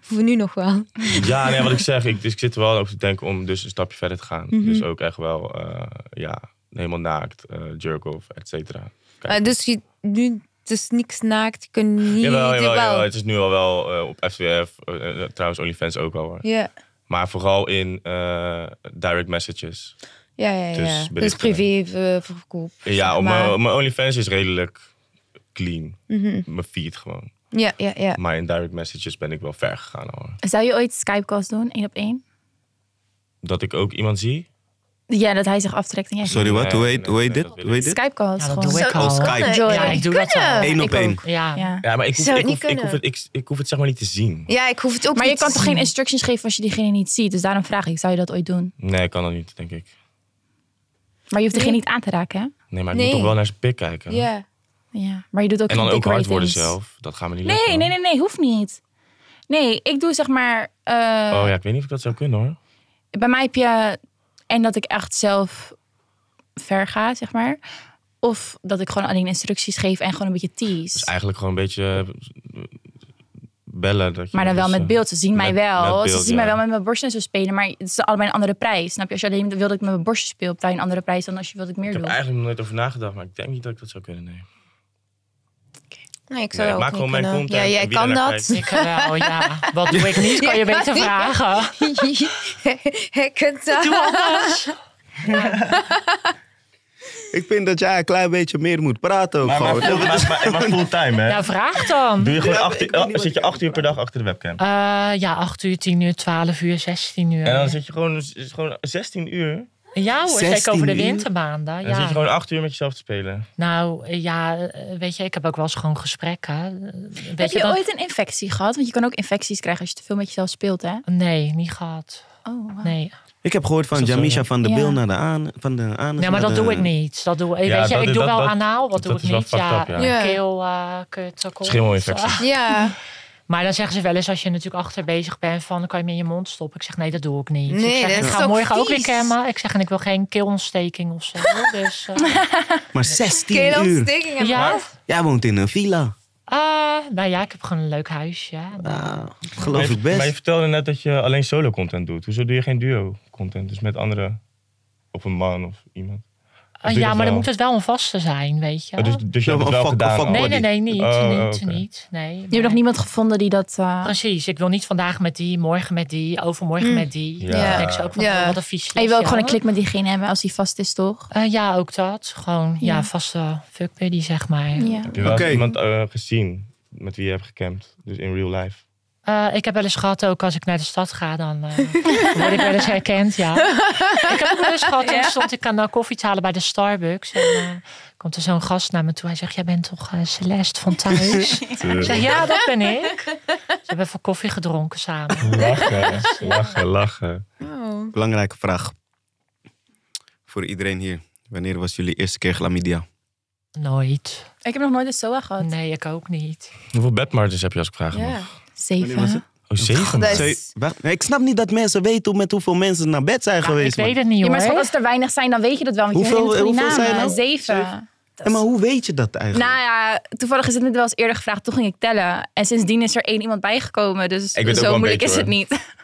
Speaker 3: Voor nu nog wel.
Speaker 5: ja, nee, wat ik zeg. Ik, dus ik zit er wel over te denken om dus een stapje verder te gaan.
Speaker 3: Mhm.
Speaker 5: Dus ook echt wel, eh, ja, helemaal naakt. eh jerk off, et cetera.
Speaker 3: Eh, dus je, nu, het is niks naakt. Je kunt niet...
Speaker 5: Jawel, jawel,
Speaker 3: jawel.
Speaker 5: jawel. Het is nu al wel eh, op FTF. eh, eh, trouwens, OnlyFans ook al. hoor.
Speaker 3: Ja,
Speaker 5: Maar vooral in eh, direct messages.
Speaker 3: ja, ja. ja.
Speaker 5: Dus
Speaker 3: Dus,
Speaker 5: berichten.
Speaker 3: privé eh, verkoop.
Speaker 5: Ja,
Speaker 3: zeg
Speaker 5: op
Speaker 3: maar. Mhm.
Speaker 5: mijn mijn OnlyFans is redelijk clean. Mijn feed gewoon.
Speaker 3: Ja, ja, ja.
Speaker 5: Maar in direct messages ben ik wel ver gegaan hoor.
Speaker 4: Zou je ooit Skype-calls doen, één op één?
Speaker 5: Dat ik ook iemand zie.
Speaker 4: Ja, dat hij zich aftrekt en jij...
Speaker 2: Sorry, wat? Hoe heet,
Speaker 5: Nee,
Speaker 2: hoe heet dit?
Speaker 5: nee, dat wil
Speaker 2: Hoe heet dit?
Speaker 4: Skype-calls
Speaker 1: Ja, dat
Speaker 4: gewoon.
Speaker 1: doe ik
Speaker 3: Zo-
Speaker 1: al.
Speaker 2: Oh, Skype.
Speaker 3: Kunnen.
Speaker 1: Ja, ik doe dat al.
Speaker 3: Kunnen.
Speaker 2: Eén op
Speaker 3: Ik
Speaker 2: één.
Speaker 3: ook.
Speaker 1: Ja.
Speaker 4: Ja.
Speaker 5: Ja, maar ik hoef,
Speaker 3: Zou
Speaker 5: ik
Speaker 3: het
Speaker 5: hoef,
Speaker 3: niet
Speaker 5: ik, hoef
Speaker 3: kunnen?
Speaker 5: het, ik, ik hoef het zeg maar niet te zien.
Speaker 3: Ja, ik hoef het ook
Speaker 4: Maar je
Speaker 3: niet
Speaker 4: kan
Speaker 3: te
Speaker 4: toch geen
Speaker 3: zien.
Speaker 4: instructies geven als je diegene niet ziet? Dus daarom vraag ik, zou je dat ooit doen?
Speaker 5: Nee, ik kan dat niet, denk ik.
Speaker 4: Maar je hoeft diegene
Speaker 3: Nee.
Speaker 4: niet aan te raken, hè?
Speaker 5: Nee, maar ik
Speaker 3: Nee.
Speaker 5: moet toch wel naar zijn pik kijken.
Speaker 3: Ja.
Speaker 4: Ja, maar je doet ook
Speaker 5: En dan
Speaker 4: geen
Speaker 5: ook hard
Speaker 4: decorating.
Speaker 5: worden zelf. Dat gaan we niet
Speaker 4: Nee,
Speaker 5: lukken.
Speaker 4: nee, nee, nee, hoeft niet. Nee, ik doe zeg maar. eh,
Speaker 5: Oh ja, ik weet niet of ik dat zou kunnen hoor.
Speaker 4: Bij mij heb je. En dat ik echt zelf ver ga, zeg maar. Of dat ik gewoon alleen instructies geef en gewoon een beetje tease.
Speaker 5: Dus eigenlijk gewoon een beetje eh, bellen. Dat je
Speaker 4: maar dan wel
Speaker 5: dus,
Speaker 4: met
Speaker 5: eh,
Speaker 4: beeld. Ze zien mij
Speaker 5: met-
Speaker 4: wel.
Speaker 5: met beeld,
Speaker 4: ze zien
Speaker 5: ja.
Speaker 4: mij wel met mijn borsten en zo spelen. Maar het is allebei een andere prijs. Snap je? Als je alleen wil dat ik met mijn borsten speel, betaal je een andere prijs dan als je wil dat ik meer
Speaker 5: Ik heb
Speaker 4: doe.
Speaker 5: eigenlijk nog nooit over nagedacht, maar ik denk niet dat ik dat zou kunnen. Nee.
Speaker 3: Nee, ik zou
Speaker 5: Nee,
Speaker 3: dat
Speaker 5: maak
Speaker 3: ook
Speaker 5: gewoon
Speaker 3: niet
Speaker 5: mijn
Speaker 3: kunnen.
Speaker 5: content
Speaker 3: Ja, jij
Speaker 5: en wie er
Speaker 3: kan
Speaker 5: naar
Speaker 3: dat.
Speaker 1: Ik eh, wel, ja. Wat doe ik niet, kan je beter vragen.
Speaker 3: Hij kunt dat.
Speaker 2: Ik vind dat jij een klein beetje meer moet praten ook
Speaker 5: Maar, maar,
Speaker 2: gewoon.
Speaker 5: full- maar, maar, maar fulltime, hè?
Speaker 1: Ja, vraag dan.
Speaker 5: Doe je gewoon
Speaker 2: Ja,
Speaker 5: acht
Speaker 2: ik
Speaker 5: uur-
Speaker 2: weet niet
Speaker 5: zit je acht uur per dag achter de webcam?
Speaker 1: Eh, ja, 8 uur, 10 uur, 12 uur, 16 uur.
Speaker 5: En dan zit je gewoon, is het gewoon 16 uur.
Speaker 1: Ja hoor, zeker
Speaker 2: 16
Speaker 1: over de
Speaker 2: uur?
Speaker 1: wintermaanden.
Speaker 5: En
Speaker 1: Ja.
Speaker 5: dan zit je gewoon acht uur met jezelf te spelen.
Speaker 1: Nou eh, ja, eh, weet je, ik heb ook wel eens gewoon gesprekken. Eh, Weet
Speaker 4: Heb je
Speaker 1: dan-
Speaker 4: ooit een infectie gehad? Want je kan ook infecties krijgen als je te veel met jezelf speelt, hè?
Speaker 1: Nee, niet gehad.
Speaker 4: Oh, wauw.
Speaker 1: Nee.
Speaker 2: Ik heb gehoord van
Speaker 5: Is dat zo,
Speaker 2: Jamisha van de
Speaker 4: Ja.
Speaker 2: bil naar de aan, van de anus
Speaker 1: Nee, maar
Speaker 2: naar
Speaker 1: dat
Speaker 2: de-
Speaker 1: doe ik niet. Dat doe, eh,
Speaker 5: Ja,
Speaker 1: weet je,
Speaker 5: dat-
Speaker 1: ik doe
Speaker 5: dat-
Speaker 1: wel
Speaker 5: dat-
Speaker 1: anaal, wat
Speaker 5: dat
Speaker 1: doe ik
Speaker 5: is wel
Speaker 1: niet.
Speaker 5: fucked
Speaker 1: Ja,
Speaker 5: up, ja.
Speaker 3: Ja.
Speaker 1: Keel, eh, kut, kont.
Speaker 5: Schimmelinfectie.
Speaker 3: Ja.
Speaker 1: Maar dan zeggen ze wel eens, als je natuurlijk achter bezig bent, van dan kan je me in je mond stoppen. Ik zeg, nee, dat doe ik niet.
Speaker 3: Nee,
Speaker 1: ik
Speaker 3: dat
Speaker 1: zeg, ik
Speaker 3: is
Speaker 1: ga
Speaker 3: ook
Speaker 1: morgen ook weer
Speaker 3: vies.
Speaker 1: cammen. Ik zeg, en ik wil geen keelontsteking of zo. Dus, eh,
Speaker 2: Maar 16 uur.
Speaker 3: Keelontsteking.
Speaker 1: ja.
Speaker 2: Jij woont in een villa.
Speaker 1: Eh, nou ja, ik heb gewoon een leuk huisje.
Speaker 2: Ah,
Speaker 5: Maar
Speaker 2: geloof
Speaker 5: je-
Speaker 2: ik best.
Speaker 5: Maar je vertelde net dat je alleen solo content doet. Hoezo doe je geen duo content? Dus met anderen? Of een man of iemand? doe je
Speaker 1: Eh, ja,
Speaker 5: dat
Speaker 1: maar dan
Speaker 5: wel?
Speaker 1: moet het wel een vaste zijn, weet je.
Speaker 5: Oh, dus, dus je
Speaker 2: Ja,
Speaker 5: hebt
Speaker 2: maar
Speaker 5: het wel
Speaker 2: fuck-
Speaker 5: gedaan
Speaker 2: fuck
Speaker 5: al?
Speaker 1: nee, nee, nee, niet.
Speaker 5: Oh,
Speaker 1: niet,
Speaker 5: oké.
Speaker 1: niet nee,
Speaker 4: Je hebt nog niemand gevonden die dat... eh,
Speaker 1: Precies, ik wil niet vandaag met die, morgen met die, overmorgen
Speaker 3: Mm.
Speaker 1: met die.
Speaker 5: Ja.
Speaker 1: Ja. Dan denk ik zo ook van,
Speaker 3: Ja.
Speaker 1: oh, wat een vies
Speaker 4: en Ah, je wil ook
Speaker 1: lijstje,
Speaker 4: gewoon een
Speaker 1: hoor.
Speaker 4: klik met diegene hebben als die vast is, toch?
Speaker 1: Eh, ja, ook dat. Gewoon, ja,
Speaker 4: Ja.
Speaker 1: vaste fuck buddy, zeg maar.
Speaker 4: Ja.
Speaker 5: Heb je wel eens
Speaker 2: Oké.
Speaker 5: iemand eh, gezien met wie je hebt gecampt? Dus in real life.
Speaker 1: Eh, ik heb wel eens gehad, ook als ik naar de stad ga, dan eh, word ik wel eens herkend, ja. ik heb ook wel eens gehad, toen stond ik aan de koffie te halen bij de Starbucks. En eh, komt er zo'n gast naar me toe, hij zegt, jij bent toch eh, Celeste van thuis? ik zeg, ja, dat ben ik. Ze hebben even koffie gedronken samen.
Speaker 5: Lachen, lachen, lachen.
Speaker 3: Oh.
Speaker 2: Belangrijke vraag. Voor iedereen hier. Wanneer was jullie eerste keer chlamydia?
Speaker 1: Nooit.
Speaker 4: Ik heb nog nooit een SOA gehad.
Speaker 1: Nee, ik ook niet.
Speaker 5: Hoeveel bedmarges heb je als ik vraag mag?
Speaker 3: Ja.
Speaker 4: Zeven.
Speaker 2: Wanneer was het?
Speaker 5: Oh, zeven?
Speaker 3: Dat is-
Speaker 5: man.
Speaker 2: Zee- wacht, nee, ik snap niet dat mensen weten hoe- met hoeveel mensen naar bed zijn
Speaker 1: Ja,
Speaker 2: geweest.
Speaker 1: ik weet
Speaker 2: man.
Speaker 1: het niet,
Speaker 4: Ja,
Speaker 1: hoor.
Speaker 4: maar schat, als er weinig zijn, dan weet je dat wel. Want
Speaker 2: Hoeveel-
Speaker 4: je weet niet van die
Speaker 2: hoeveel zijn
Speaker 4: namen.
Speaker 2: er nou?
Speaker 4: Zeven.
Speaker 2: En maar hoe weet je dat eigenlijk?
Speaker 4: Nou ja, toevallig is het me wel eens eerder gevraagd. Toen ging ik tellen. En sindsdien is er één iemand bijgekomen. Dus
Speaker 5: Ik weet ook wel
Speaker 4: zo
Speaker 5: een
Speaker 4: moeilijk is
Speaker 5: beetje,
Speaker 4: het niet.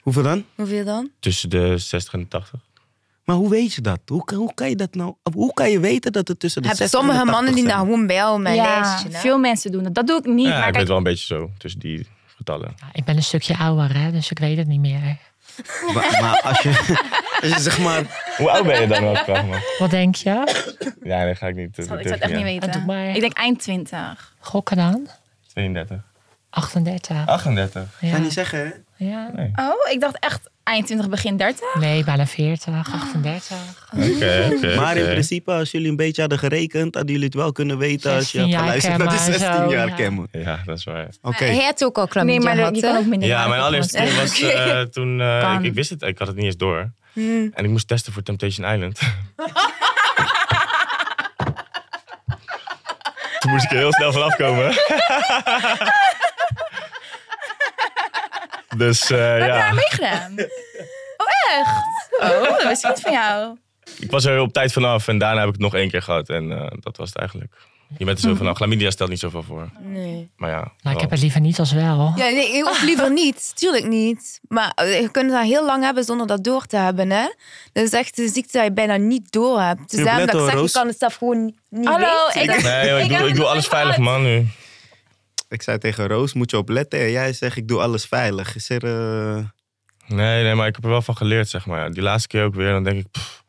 Speaker 2: Hoeveel dan?
Speaker 3: Hoeveel dan?
Speaker 5: Tussen de 60 en de 80.
Speaker 2: Maar hoe weet je dat? Hoe, kan- hoe kan je dat nou? Hoe kan je weten dat het tussen de
Speaker 3: Heb
Speaker 2: 60 en
Speaker 3: sommige
Speaker 2: de
Speaker 3: mannen
Speaker 2: 80
Speaker 3: die nou
Speaker 2: zijn?
Speaker 3: gewoon bij jou op mijn lijstje. hè?
Speaker 4: veel mensen doen dat. Dat doe ik niet.
Speaker 5: Ja,
Speaker 4: maar
Speaker 5: ik
Speaker 4: kijk,
Speaker 5: weet wel een beetje zo. Tussen die getallen.
Speaker 1: Ja, ik ben een stukje ouder, hè, dus ik weet het niet meer.
Speaker 2: Maar, maar als je, als je zeg maar...
Speaker 5: Hoe oud ben je dan als ik vraag mag?
Speaker 1: Wat denk je?
Speaker 5: Ja, dat ga ik niet. eh,
Speaker 4: ik zou
Speaker 5: durf
Speaker 4: het echt niet
Speaker 5: aan.
Speaker 1: Doe
Speaker 4: weten.
Speaker 1: maar.
Speaker 4: Ik denk eind twintig.
Speaker 1: Gokken dan?
Speaker 5: 32.
Speaker 1: 38.
Speaker 5: 38.
Speaker 2: Ik
Speaker 1: Ja.
Speaker 2: ga niet zeggen, hè?
Speaker 1: Ja.
Speaker 4: Oh, ik dacht echt eind twintig, begin dertig.
Speaker 1: Nee, bijna
Speaker 4: Ah.
Speaker 1: 40, 38.
Speaker 5: Oké, oké,
Speaker 2: Maar in
Speaker 5: oké.
Speaker 2: principe, als jullie een beetje hadden gerekend, hadden jullie het wel kunnen weten als je
Speaker 1: 16
Speaker 2: had
Speaker 1: jaar
Speaker 2: geluisterd naar de
Speaker 1: kenmer,
Speaker 2: 16
Speaker 1: zo, ja.
Speaker 2: jaar kenmer.
Speaker 5: Ja, dat is waar.
Speaker 2: Oké.
Speaker 3: Hij had ook al
Speaker 4: Nee,
Speaker 3: chlamydia
Speaker 4: maar
Speaker 3: gehad,
Speaker 4: je
Speaker 3: hè?
Speaker 4: kan ook minder.
Speaker 5: Ja, mijn allereerste keer
Speaker 4: was.
Speaker 5: was eh, toen... eh,
Speaker 4: Kan.
Speaker 5: ik, ik wist het, ik had het niet eens door.
Speaker 3: Hmm.
Speaker 5: En ik moest testen voor Temptation Island. toen moest ik er heel snel vanaf komen. dus eh,
Speaker 4: Heb je daar
Speaker 5: ja,
Speaker 4: meegedaan? Oh, echt? Oh, dat wist ik niet van jou.
Speaker 5: ik was er op tijd vanaf en daarna heb ik het nog één keer gehad. En eh, dat was het eigenlijk. Je bent er
Speaker 4: Hmm.
Speaker 5: zo vanaf. Chlamydia stelt niet zoveel voor.
Speaker 3: Nee.
Speaker 5: Maar ja,
Speaker 1: Nou,
Speaker 5: wel.
Speaker 1: ik heb het liever niet als wel.
Speaker 3: Ja, nee, of liever niet. Tuurlijk niet. Maar eh, je kunt dat heel lang hebben zonder dat door te hebben, hè? Dat is echt een ziekte die je bijna niet door hebt. Dus
Speaker 2: Je
Speaker 3: daarom
Speaker 2: hebt
Speaker 3: dat
Speaker 2: net
Speaker 3: ik zeg,
Speaker 2: al,
Speaker 3: je
Speaker 2: Roos.
Speaker 3: kan het zelf gewoon niet
Speaker 4: Hallo,
Speaker 3: weten.
Speaker 4: ik-
Speaker 3: Dat-
Speaker 5: Nee, joh, ik,
Speaker 4: Ik heb
Speaker 5: doe, ik
Speaker 4: het
Speaker 5: doe
Speaker 4: nog
Speaker 5: alles
Speaker 4: niet
Speaker 5: veilig,
Speaker 4: gehad.
Speaker 5: man, nu.
Speaker 2: Ik zei tegen Roos, moet je opletten. En jij zegt, ik doe alles veilig. Is er... eh,
Speaker 5: Nee, nee, maar ik heb er wel van geleerd, zeg maar. Die laatste keer ook weer, dan denk ik... pff,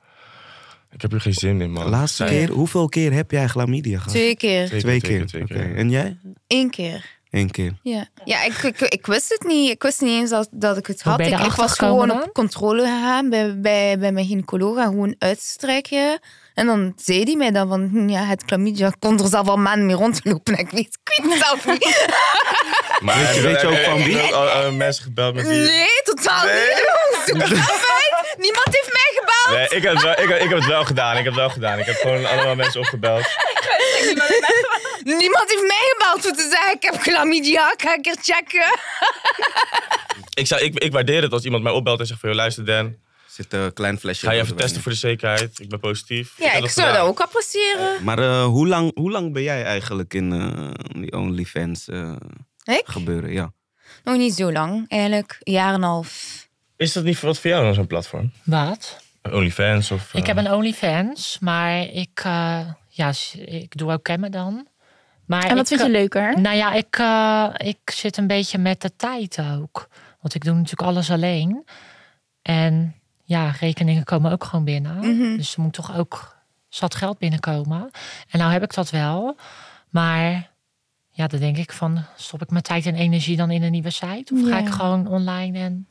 Speaker 5: ik heb hier geen zin in, man.
Speaker 2: laatste
Speaker 5: Zij-
Speaker 2: keer, hoeveel keer heb jij chlamydia gehad?
Speaker 3: Twee keer.
Speaker 2: Twee keer. Oké. En jij?
Speaker 3: Eén keer.
Speaker 2: Eén keer.
Speaker 3: Ja, ja ik, ik, ik wist het niet. Ik wist niet eens dat, dat ik het
Speaker 1: Hoe
Speaker 3: had.
Speaker 1: ben je
Speaker 3: Ik, ik
Speaker 1: erachter
Speaker 3: was gewoon
Speaker 1: gekomen
Speaker 3: op controle gegaan bij, bij, bij mijn gynaecoloog en gewoon uitstrekken. En dan zei hij mij dan van, hm, ja, het chlamydia kon er zelf al maanden mee rondlopen. En ik weet, ik weet het zelf niet.
Speaker 5: Maar
Speaker 2: Weet je- weet je ook van wie?
Speaker 5: Ik heb ook al, eh, mensen gebeld met wie...
Speaker 3: Nee, totaal niet. Zoek het zelf uit. Niemand heeft mij gebeld.
Speaker 5: Nee, ik heb, het wel, ik, ik heb het wel gedaan. Ik heb het wel gedaan. Ik heb gewoon allemaal mensen opgebeld.
Speaker 3: Niemand heeft mij gebeld om te zeggen, ik heb chlamydia, ik ga een keer checken.
Speaker 5: Ik, zou, ik, ik waardeer het als iemand mij opbelt en zegt van... Joh, luister Dan,
Speaker 2: Zit een klein flesje.
Speaker 5: ga je even testen voor de zekerheid. Ik ben positief.
Speaker 3: Ja,
Speaker 5: heb
Speaker 3: ik zou dat
Speaker 5: gedaan.
Speaker 3: ook appreciëren.
Speaker 2: Maar eh, hoe, lang, hoe lang ben jij eigenlijk in eh, die OnlyFans eh,
Speaker 3: Ik?
Speaker 2: gebeuren? Ja.
Speaker 3: Nog niet zo lang, eigenlijk. Een jaar en een half.
Speaker 5: Is dat niet wat voor jou dan zo'n platform?
Speaker 1: Wat?
Speaker 5: OnlyFans of... eh,
Speaker 1: Ik heb een OnlyFans, maar ik, eh, ja, s- ik doe ook cammen dan. Maar
Speaker 4: En wat
Speaker 1: ik,
Speaker 4: vind je
Speaker 1: eh,
Speaker 4: leuker?
Speaker 1: Nou ja, ik, eh, ik zit een beetje met de tijd ook. Want ik doe natuurlijk alles alleen. En ja, rekeningen komen ook gewoon binnen.
Speaker 4: Mhm.
Speaker 1: Dus er moet toch ook zat geld binnenkomen. En nou heb ik dat wel. Maar ja, dan denk ik van... stop ik mijn tijd en energie dan in een nieuwe site? Of ga
Speaker 4: Ja.
Speaker 1: ik gewoon online en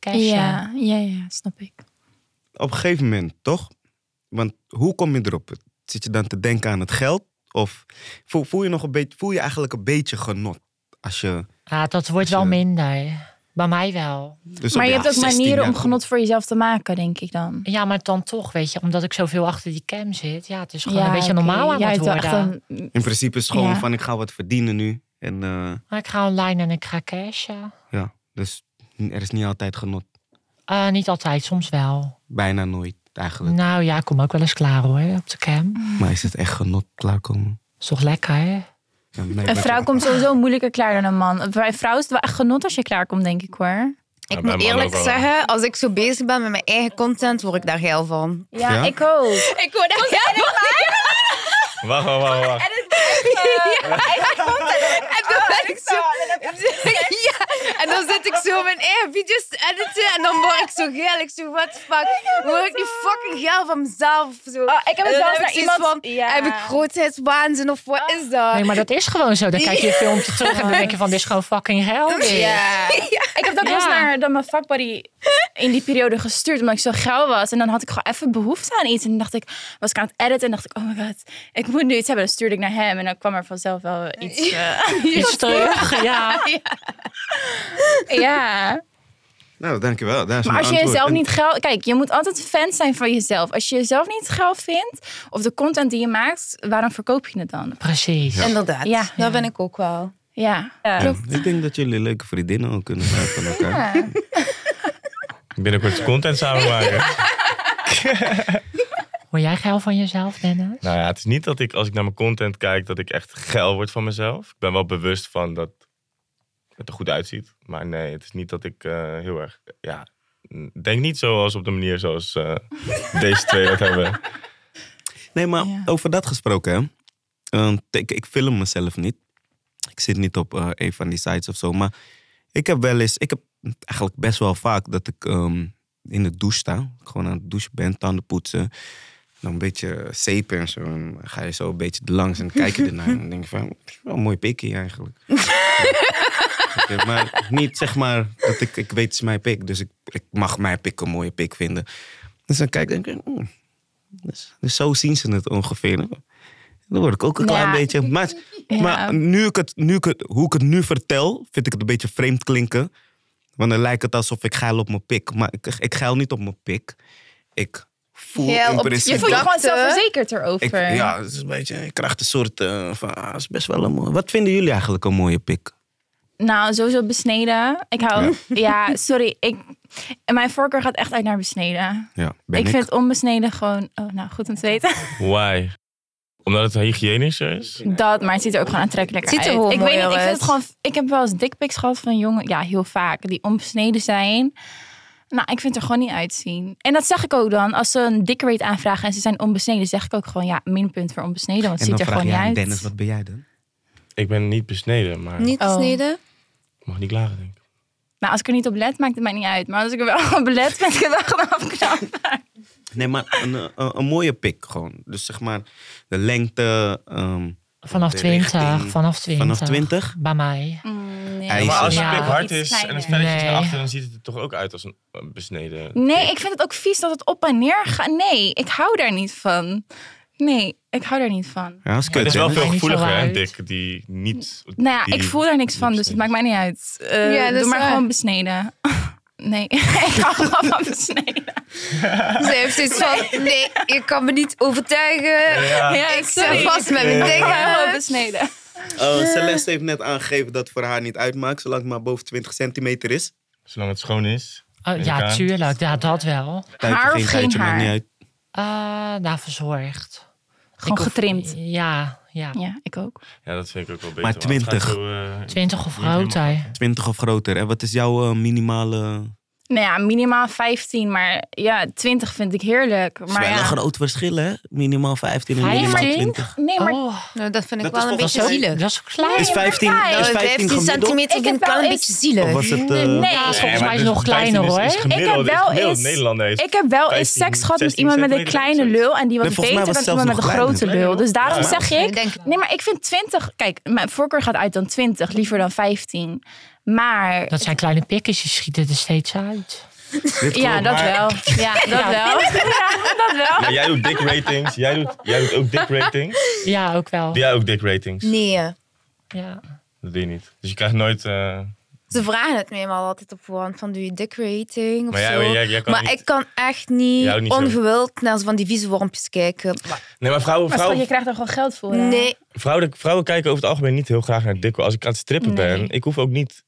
Speaker 1: cashen?
Speaker 4: Ja, ja, ja, snap ik.
Speaker 2: Op een gegeven moment, toch? Want hoe kom je erop? Zit je dan te denken aan het geld? Of voel, voel je, nog een beetje, voel je eigenlijk een beetje genot? Als je,
Speaker 1: Ja, dat wordt wel
Speaker 2: Dus, eh,
Speaker 1: minder. Bij mij wel.
Speaker 2: dus
Speaker 4: Maar
Speaker 2: op
Speaker 4: je
Speaker 2: ja,
Speaker 4: hebt ook
Speaker 2: 16
Speaker 4: manieren
Speaker 2: jaar
Speaker 4: om
Speaker 2: komt.
Speaker 4: genot voor jezelf te maken, denk ik dan.
Speaker 1: Ja, maar dan toch, weet je. Omdat ik zoveel achter die cam zit. Ja, het is gewoon
Speaker 4: Ja,
Speaker 1: een beetje
Speaker 4: oké.
Speaker 1: normaal aan
Speaker 4: Jij
Speaker 1: het
Speaker 4: hebt wel
Speaker 1: worden.
Speaker 4: echt een-
Speaker 2: In principe is het gewoon
Speaker 4: Ja.
Speaker 2: van ik ga wat verdienen nu. En eh,
Speaker 1: Maar ik ga online en ik ga cashen.
Speaker 2: ja, dus er is niet altijd genot.
Speaker 1: Eh, niet altijd, soms wel.
Speaker 2: Bijna nooit eigenlijk.
Speaker 1: Nou ja, ik kom ook wel eens klaar hoor, op de cam.
Speaker 4: Mm.
Speaker 2: Maar is het echt genot klaarkomen?
Speaker 1: Is toch lekker, hè?
Speaker 2: Ja, nee,
Speaker 4: Een
Speaker 2: wat-
Speaker 4: vrouw komt sowieso moeilijker klaar dan een man. Bij een vrouw is het wel echt genot als je klaar komt, denk ik hoor.
Speaker 5: Ja,
Speaker 3: Ik
Speaker 5: bij
Speaker 3: moet
Speaker 5: mannen
Speaker 3: eerlijk
Speaker 5: ook wel.
Speaker 3: zeggen, als ik zo bezig ben met mijn eigen content, word ik daar geil van.
Speaker 4: Ja,
Speaker 2: Ja?
Speaker 4: ik ook.
Speaker 3: Ik word daar geil van.
Speaker 5: Wacht, wacht, wacht. wacht.
Speaker 3: En dan ben ik zo... Ja, en dan zit ik zo mijn eigen video's te editen en dan word ik zo geil. Ik zo, what the fuck? Word ik nu fucking geil van mezelf? Zo.
Speaker 4: ik heb
Speaker 3: En
Speaker 4: het
Speaker 3: dan
Speaker 4: zelfs
Speaker 3: heb
Speaker 4: naar
Speaker 3: ik zoiets
Speaker 4: iemand-
Speaker 3: van,
Speaker 4: Ja.
Speaker 3: Heb ik grootheidswaanzin of wat is dat?
Speaker 1: Nee, maar dat is gewoon zo. Dan kijk je een filmpje terug en dan denk je van, dit is gewoon fucking hell. dit.
Speaker 3: Ja.
Speaker 4: Ik heb dat wel eens
Speaker 1: Ja.
Speaker 4: naar dan mijn vakbuddy in die periode gestuurd, omdat ik zo grauw was. En dan had ik gewoon even behoefte aan iets. En dan dacht ik, was ik aan het editen en dacht ik, oh my god, ik moet nu iets hebben. Dan stuurde ik naar hem en dan kwam er vanzelf wel iets. eh,
Speaker 1: Iets terug, ja.
Speaker 4: ja.
Speaker 2: Nou, dankjewel. Daar is
Speaker 4: Maar
Speaker 2: mijn
Speaker 4: als je
Speaker 2: antwoord.
Speaker 4: jezelf
Speaker 2: En-
Speaker 4: niet geil... Kijk, je moet altijd fan zijn van jezelf. Als je jezelf niet geil vindt, of de content die je maakt, waarom verkoop je het dan?
Speaker 1: Precies.
Speaker 3: Inderdaad,
Speaker 4: Ja.
Speaker 3: dat ben ik ook wel.
Speaker 4: Ja.
Speaker 2: Ja, ik denk dat jullie leuke vriendinnen ook kunnen zijn van elkaar.
Speaker 5: Binnenkort content samen maken.
Speaker 1: Word jij geil van jezelf, Dennis?
Speaker 5: nou ja, het is niet dat ik als ik naar mijn content kijk dat ik echt geil word van mezelf. Ik ben wel bewust van dat het er goed uitziet. Maar nee, het is niet dat ik eh, heel erg... Ja, denk niet zoals op de manier zoals eh, deze twee dat hebben.
Speaker 2: Nee, maar
Speaker 4: Ja.
Speaker 2: over dat gesproken, hè. Ehm, ik, ik film mezelf niet. Ik zit niet op eh, een van die sites of zo. Maar ik heb wel eens, ik heb eigenlijk best wel vaak dat ik ehm, in de douche sta. Gewoon aan het douchen ben, tanden poetsen. Dan een beetje zeepen en zo. En dan ga je zo een beetje langs en kijk je ernaar. En dan denk je van, "Oh, het is wel een mooi pikkie eigenlijk. Ja. Oké, maar niet zeg maar, dat ik, ik weet het is mijn pik. Dus ik, ik mag mijn pik een mooie pik vinden. Dus dan kijk ik, denk ik, "Hmm, dus, dus zo zien ze het ongeveer. Dan word ik ook een
Speaker 4: Ja.
Speaker 2: klein beetje. Maar, maar nu ik het, nu ik het, hoe ik het nu vertel, vind ik het een beetje vreemd klinken. Want dan lijkt het alsof ik geil op mijn pik. Maar ik, ik geil niet op mijn pik. Ik voel
Speaker 3: Geil
Speaker 2: in
Speaker 3: op-
Speaker 2: principe...
Speaker 4: Je voelt je gewoon
Speaker 3: Gedachten.
Speaker 4: zelfverzekerd
Speaker 2: ik,
Speaker 4: erover.
Speaker 2: ja, het is een beetje... Ik krijg de soort eh, van... Ah, het is best wel een mooie... Wat vinden jullie eigenlijk een mooie pik?
Speaker 4: Nou, sowieso besneden. Ik hou... Ja, sorry. Ik, mijn voorkeur gaat echt uit naar besneden.
Speaker 2: Ja, ben
Speaker 4: ik, vind onbesneden gewoon... Oh, nou, goed om te weten.
Speaker 5: Why? Omdat het hygiënischer is?
Speaker 4: Dat, maar het ziet er ook gewoon aantrekkelijk
Speaker 3: Het ziet er
Speaker 4: uit.
Speaker 3: wel
Speaker 4: ik
Speaker 3: mooi
Speaker 4: weet niet, ik vind
Speaker 3: uit.
Speaker 4: het gewoon... Ik heb wel eens dickpics gehad van jongen... Ja, heel vaak. Die onbesneden zijn. Nou, ik vind het er gewoon niet uitzien. En dat zeg ik ook dan. Als ze een dick rate aanvragen en ze zijn onbesneden... zeg ik ook gewoon, ja, minpunt voor onbesneden. Want het
Speaker 2: En dan
Speaker 4: ziet er
Speaker 2: vraag
Speaker 4: gewoon
Speaker 2: je
Speaker 4: niet
Speaker 2: aan
Speaker 4: uit.
Speaker 2: Dennis, wat ben jij dan?
Speaker 5: Ik ben niet besneden, maar
Speaker 3: Niet
Speaker 4: Oh.
Speaker 3: sneden?
Speaker 5: ik mag niet klagen, denk ik.
Speaker 4: Nou, als ik er niet op let, maakt het mij niet uit. Maar als ik er wel op let, ben ik het wel gewoon afknappen.
Speaker 2: Nee, maar een, eh, een, een mooie pik gewoon. Dus zeg maar de lengte... ehm,
Speaker 1: Vanaf
Speaker 2: de
Speaker 1: 20,
Speaker 2: richting.
Speaker 1: vanaf 20.
Speaker 2: Vanaf 20?
Speaker 1: Bij mij.
Speaker 4: Nee.
Speaker 2: Ja,
Speaker 5: maar als je
Speaker 1: Ja,
Speaker 5: pik hard
Speaker 4: iets
Speaker 5: is en
Speaker 4: kleiner.
Speaker 5: het velletje is naar
Speaker 1: Nee.
Speaker 5: achter, dan ziet het er toch ook uit als een een besneden.
Speaker 4: Nee, ik vind het ook vies dat het op en neer gaat. Nee, ik hou daar niet van. Nee, ik hou daar niet van.
Speaker 2: Ja, dat is
Speaker 5: Maar
Speaker 2: kut,
Speaker 5: het is wel
Speaker 2: hè?
Speaker 1: Maakt
Speaker 5: veel
Speaker 1: niet zo
Speaker 5: gevoeliger, hè,
Speaker 1: uit.
Speaker 5: Dick, die niet...
Speaker 4: Nou ja,
Speaker 5: die-
Speaker 4: ik voel daar niks van, dus het maakt mij niet uit. Eh,
Speaker 3: Ja, dat is
Speaker 4: doe maar
Speaker 3: waar.
Speaker 4: gewoon besneden. Nee, ik hou gewoon van besneden.
Speaker 3: Ze heeft iets van, nee, je kan me niet overtuigen.
Speaker 5: Ja.
Speaker 2: Ah.
Speaker 3: ik
Speaker 4: sorry.
Speaker 3: zit vast met mijn
Speaker 5: Ja.
Speaker 4: Ik hou gewoon
Speaker 3: dingen.
Speaker 4: besneden.
Speaker 2: Eh, Celeste heeft net aangegeven dat het voor haar niet uitmaakt, zolang het maar boven 20 centimeter is.
Speaker 5: Zolang het schoon is.
Speaker 1: Oh,
Speaker 5: In
Speaker 1: ja,
Speaker 5: elkaar.
Speaker 1: tuurlijk. Ja, dat wel.
Speaker 2: Tuitje,
Speaker 4: Haar of geen
Speaker 2: tuitje, maakt
Speaker 4: haar?
Speaker 2: niet uit.
Speaker 1: Eh nou, verzorgd.
Speaker 4: Gewoon
Speaker 1: Ik hoef-
Speaker 4: getrimd.
Speaker 1: Ja, ja.
Speaker 4: Ja, ik ook.
Speaker 5: Ja, dat vind ik ook wel beter.
Speaker 2: Maar
Speaker 5: want het
Speaker 2: 20.
Speaker 5: gaat zo, eh,
Speaker 1: 20 of
Speaker 5: niet helemaal
Speaker 1: groter.
Speaker 2: 20 of groter. En wat is jouw eh, minimale...
Speaker 4: Nou ja, minimaal 15, maar ja, 20 vind ik heerlijk.
Speaker 2: Het is
Speaker 4: Maar
Speaker 2: wel
Speaker 4: ja.
Speaker 2: een Nou, groot verschil, hè? Minimaal 15 en minimaal
Speaker 1: 15?
Speaker 2: 20.
Speaker 4: Nee, maar
Speaker 1: Oh,
Speaker 3: Nou, dat vind ik
Speaker 2: Dat is
Speaker 3: wel
Speaker 2: volgens
Speaker 3: een beetje
Speaker 1: dat is ook-
Speaker 3: zielig.
Speaker 1: Dat is ook klein.
Speaker 2: Is 15,
Speaker 4: maar
Speaker 2: is 15
Speaker 3: 15
Speaker 2: gemiddeld?
Speaker 3: centimeter
Speaker 4: Ik
Speaker 3: vind
Speaker 4: heb
Speaker 3: ik wel een
Speaker 4: wel
Speaker 3: beetje
Speaker 4: eens-
Speaker 2: Of
Speaker 3: zielig.
Speaker 2: was het...
Speaker 1: Nee,
Speaker 2: eh,
Speaker 4: Nee,
Speaker 1: volgens
Speaker 5: Nee, maar
Speaker 1: mij is
Speaker 5: dus
Speaker 1: het nog kleiner
Speaker 5: 15 is- is
Speaker 1: hoor.
Speaker 4: Ik heb
Speaker 5: gemiddeld- is
Speaker 4: wel
Speaker 5: gemiddeld.
Speaker 4: eens-
Speaker 5: Nederlander heeft
Speaker 4: Ik heb wel eens
Speaker 5: 15,
Speaker 4: seks gehad met
Speaker 5: 16
Speaker 4: iemand met een
Speaker 5: centimeter
Speaker 4: kleine
Speaker 5: of zoiets.
Speaker 4: lul. En die was
Speaker 2: Nee, volgens mij was
Speaker 4: beter dan
Speaker 2: het zelfs
Speaker 4: iemand met een
Speaker 2: nog
Speaker 4: grote
Speaker 2: kleiner.
Speaker 4: lul. Dus daarom
Speaker 5: Ja.
Speaker 4: zeg
Speaker 3: Ik
Speaker 4: ik...
Speaker 3: denk het wel.
Speaker 4: Nee, maar ik vind 20... Kijk, mijn voorkeur gaat uit dan 20. Liever dan 15. Maar...
Speaker 1: Dat zijn kleine pikjes, die schieten er steeds uit.
Speaker 2: dit
Speaker 4: Ja,
Speaker 2: klopt. Nou,
Speaker 4: dat
Speaker 5: maar-
Speaker 4: wel. Ja, dat wel. Ja, dat wel.
Speaker 5: Maar jij doet dick ratings. Jij doet, jij doet ook dick ratings.
Speaker 1: Ja, ook wel.
Speaker 5: Doe jij ook dick ratings?
Speaker 3: Nee,
Speaker 1: Ja.
Speaker 5: Dat doe je niet. Dus je krijgt nooit... eh,
Speaker 3: ze vragen het me helemaal altijd op voorhand van doe je dick rating of
Speaker 5: Maar jij-
Speaker 3: zo.
Speaker 5: jij- jij kan
Speaker 3: maar
Speaker 5: niet-
Speaker 3: ik kan echt niet,
Speaker 5: Jij ook niet zo.
Speaker 3: ongewild naar zo van die vieze wormpjes kijken. Maar-
Speaker 5: Nee, maar vrouwen,
Speaker 4: Maar schat, je
Speaker 5: vrouwen,
Speaker 4: krijgt er gewoon geld voor. hè?
Speaker 3: nee,
Speaker 5: vrouwen, vrouwen kijken over het algemeen niet heel graag naar dick. Als ik aan het strippen ben, ik hoef ook niet,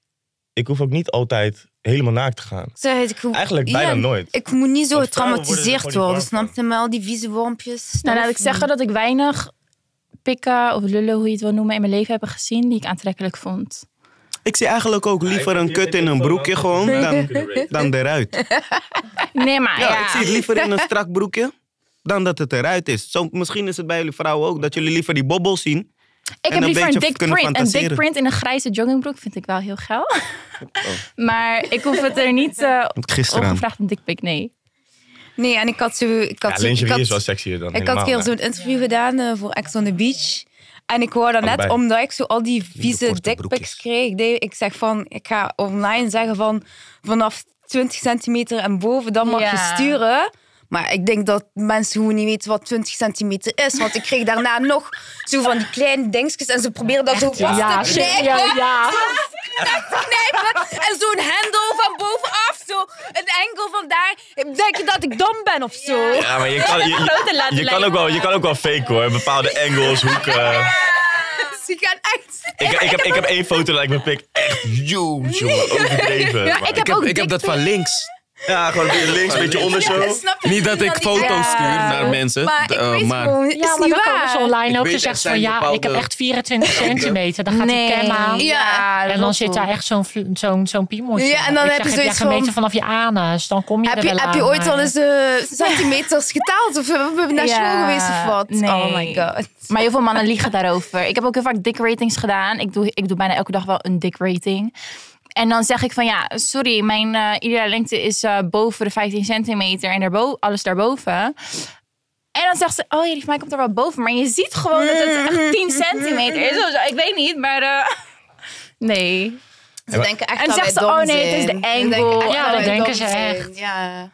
Speaker 5: ik hoef ook niet altijd helemaal naakt te gaan.
Speaker 3: ik zeg het, ik hoef-
Speaker 5: Eigenlijk bijna
Speaker 3: ja,
Speaker 5: nooit.
Speaker 3: Ik moet niet zo
Speaker 5: Want vrouwen
Speaker 3: getraumatiseerd
Speaker 5: worden er
Speaker 3: worden,
Speaker 5: gewoon niet warm
Speaker 3: snap je wel? Die vieze wormpjes.
Speaker 4: Nou, laat ik zeggen dat ik weinig pikken of lullen, hoe je het wil noemen, in mijn leven heb gezien die ik aantrekkelijk vond.
Speaker 2: Ik zie eigenlijk ook liever een kut in een broekje gewoon dan, dan eruit.
Speaker 4: Nee, maar ja.
Speaker 2: Ja, ik zie het liever in een strak broekje dan dat het eruit is. Zo, misschien is het bij jullie vrouwen ook dat jullie liever die bobbels zien.
Speaker 4: Ik heb
Speaker 2: een
Speaker 4: liever
Speaker 2: beetje
Speaker 4: een dik
Speaker 2: kunnen
Speaker 4: print. Een dik
Speaker 2: fantaseren. Oh.
Speaker 4: print in een grijze joggingbroek vind ik wel heel geil. maar ik hoef het er niet eh
Speaker 2: Gisteren. aan.
Speaker 4: ongevraagd een dikpik, nee.
Speaker 3: Nee, en ik had zo... Ik had
Speaker 5: Ja,
Speaker 3: zo- ik
Speaker 5: lingerie
Speaker 3: had-
Speaker 5: is wel sexier dan
Speaker 3: Ik had een keer
Speaker 5: helemaal,
Speaker 3: zo'n interview gedaan eh, voor Ex on the Beach. En ik wou dat net,
Speaker 5: Allebei.
Speaker 3: omdat ik zo al die vieze
Speaker 2: korte broekjes.
Speaker 3: dickpics kreeg. deed- Ik zeg van, ik ga online zeggen van... Vanaf 20 centimeter en boven, dan mag
Speaker 4: Ja.
Speaker 3: je sturen. Maar ik denk dat mensen gewoon niet weten wat 20 centimeter is. Want ik kreeg daarna nog zo van die kleine dingetjes. En ze probeerden dat zo vast
Speaker 1: Ja,
Speaker 3: te
Speaker 1: shit,
Speaker 3: knijpen.
Speaker 1: ja, ja.
Speaker 3: knijpen. En zo'n hendel van bovenaf. Zo een enkel van daar. Denk je dat ik dom ben of zo?
Speaker 5: Ja, maar je kan, je, je-
Speaker 4: Grote laten
Speaker 5: je kan, ook, wel, je kan ook wel fake hoor. Bepaalde angles, hoeken.
Speaker 3: Dus die gaan echt...
Speaker 5: Ik, ik, heb, ik heb één foto dat ik mijn pik echt huge, jongen. Overdreven. maar-
Speaker 4: heb ook
Speaker 6: ik heb dat van links.
Speaker 5: Ja, gewoon een beetje links, een beetje onder zo.
Speaker 3: Snap je
Speaker 6: Niet dat ik
Speaker 3: die- die-
Speaker 6: foto's stuur naar mensen.
Speaker 3: Maar
Speaker 6: d-
Speaker 3: ik
Speaker 6: eh,
Speaker 3: weet
Speaker 6: maar
Speaker 3: gewoon,
Speaker 1: Ja,
Speaker 3: is
Speaker 1: Nou, maar
Speaker 3: niet
Speaker 1: dan komen
Speaker 3: waar.
Speaker 1: ze online
Speaker 6: Ik
Speaker 1: ook
Speaker 6: weet,
Speaker 1: en
Speaker 6: er
Speaker 1: zegt
Speaker 6: zijn
Speaker 1: van ja, ik heb
Speaker 6: bepaalde-
Speaker 1: echt 24 centimeter. Dan gaat die cam aan.
Speaker 3: Ja.
Speaker 1: En dan zit daar echt zo'n vl- zo'n zo'n piemeltje.
Speaker 3: Ja, en dan
Speaker 1: Ik
Speaker 3: heb je
Speaker 1: zeg,
Speaker 3: zoiets
Speaker 1: jij gemeten
Speaker 3: van-
Speaker 1: vanaf je anus, dan kom je
Speaker 3: Heb
Speaker 1: er wel
Speaker 3: je, heb je
Speaker 1: aan,
Speaker 3: ooit
Speaker 1: maar-
Speaker 3: al eens eh, centimeters getaald? Of eh, we naar
Speaker 4: Ja.
Speaker 3: school geweest of wat?
Speaker 4: Nee.
Speaker 3: Oh my god.
Speaker 4: Maar heel veel mannen liegen daarover. Ik heb ook heel vaak dik ratings gedaan. Ik doe, ik doe bijna elke dag wel een dik rating. En dan zeg ik van ja, sorry, mijn eh ideale lengte is eh, boven de 15 centimeter en daarbo alles daarboven. En dan zegt ze, oh ja, die van mij komt er wel boven. Maar je ziet gewoon dat het echt 10 centimeter is. of zo. Ik weet niet, maar eh, nee.
Speaker 3: Ze denken echt
Speaker 4: En
Speaker 3: dat
Speaker 4: zegt
Speaker 3: wij
Speaker 4: ze,
Speaker 3: dom
Speaker 4: oh nee, het is de
Speaker 3: zijn.
Speaker 4: angle.
Speaker 1: Ja, dat
Speaker 3: Ze denken echt wij
Speaker 1: denken
Speaker 3: dom
Speaker 1: ze
Speaker 3: zijn.
Speaker 1: echt.
Speaker 3: Ja.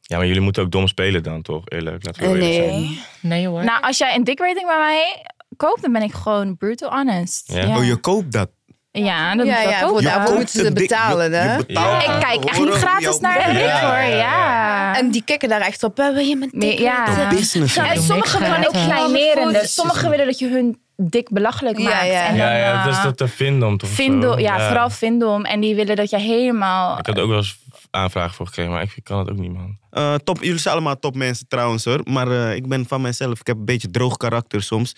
Speaker 5: Ja, maar jullie moeten ook dom spelen dan, toch? Eerlijk, laten we wel eerlijk zijn.
Speaker 3: Nee.
Speaker 1: Nee hoor.
Speaker 4: Nou, als jij een dik rating bij mij koopt, dan ben ik gewoon brutal honest.
Speaker 5: Ja.
Speaker 4: Ja,
Speaker 2: Oh, je koopt dat.
Speaker 4: Ja, dat moet
Speaker 3: Ja,
Speaker 4: ik wel
Speaker 3: ja,
Speaker 4: kopen.
Speaker 3: voor daarvoor
Speaker 2: Koopt
Speaker 3: moeten ze
Speaker 2: het dik-
Speaker 3: betalen,
Speaker 2: je-
Speaker 3: hè?
Speaker 2: je betaalt
Speaker 4: Ik
Speaker 2: om
Speaker 4: kijk
Speaker 2: te
Speaker 4: echt niet
Speaker 2: horen hoe
Speaker 4: gratis
Speaker 2: jouw
Speaker 4: naar
Speaker 2: broek
Speaker 4: de
Speaker 5: broek.
Speaker 4: dik
Speaker 5: Ja,
Speaker 4: hoor,
Speaker 5: ja, ja.
Speaker 4: ja.
Speaker 3: En die kikken daar echt op. hè, Wil je mijn
Speaker 4: Nee,
Speaker 3: dik?
Speaker 4: ja.
Speaker 3: laten?
Speaker 4: De
Speaker 2: Business.
Speaker 1: Ja,
Speaker 2: man.
Speaker 4: En
Speaker 1: Doe
Speaker 4: sommigen
Speaker 1: niks
Speaker 4: willen ook
Speaker 1: gratis.
Speaker 4: kleineren.
Speaker 3: Precies.
Speaker 4: Dus sommigen willen dat je hun dik belachelijk
Speaker 3: Ja,
Speaker 4: maakt.
Speaker 3: ja.
Speaker 4: En dan,
Speaker 5: Ja, ja, dat is
Speaker 4: eh,
Speaker 5: dat de Vindom toch? of zo?
Speaker 4: Vindel, ja, vooral Vindom. En die willen dat je helemaal...
Speaker 5: Ik had er ook wel eens aanvragen voor gekregen, maar ik kan het ook niet, man.
Speaker 2: Eh, top, jullie zijn allemaal topmensen trouwens hoor. Maar eh, ik ben van mezelf. Ik heb een beetje droog karakter soms.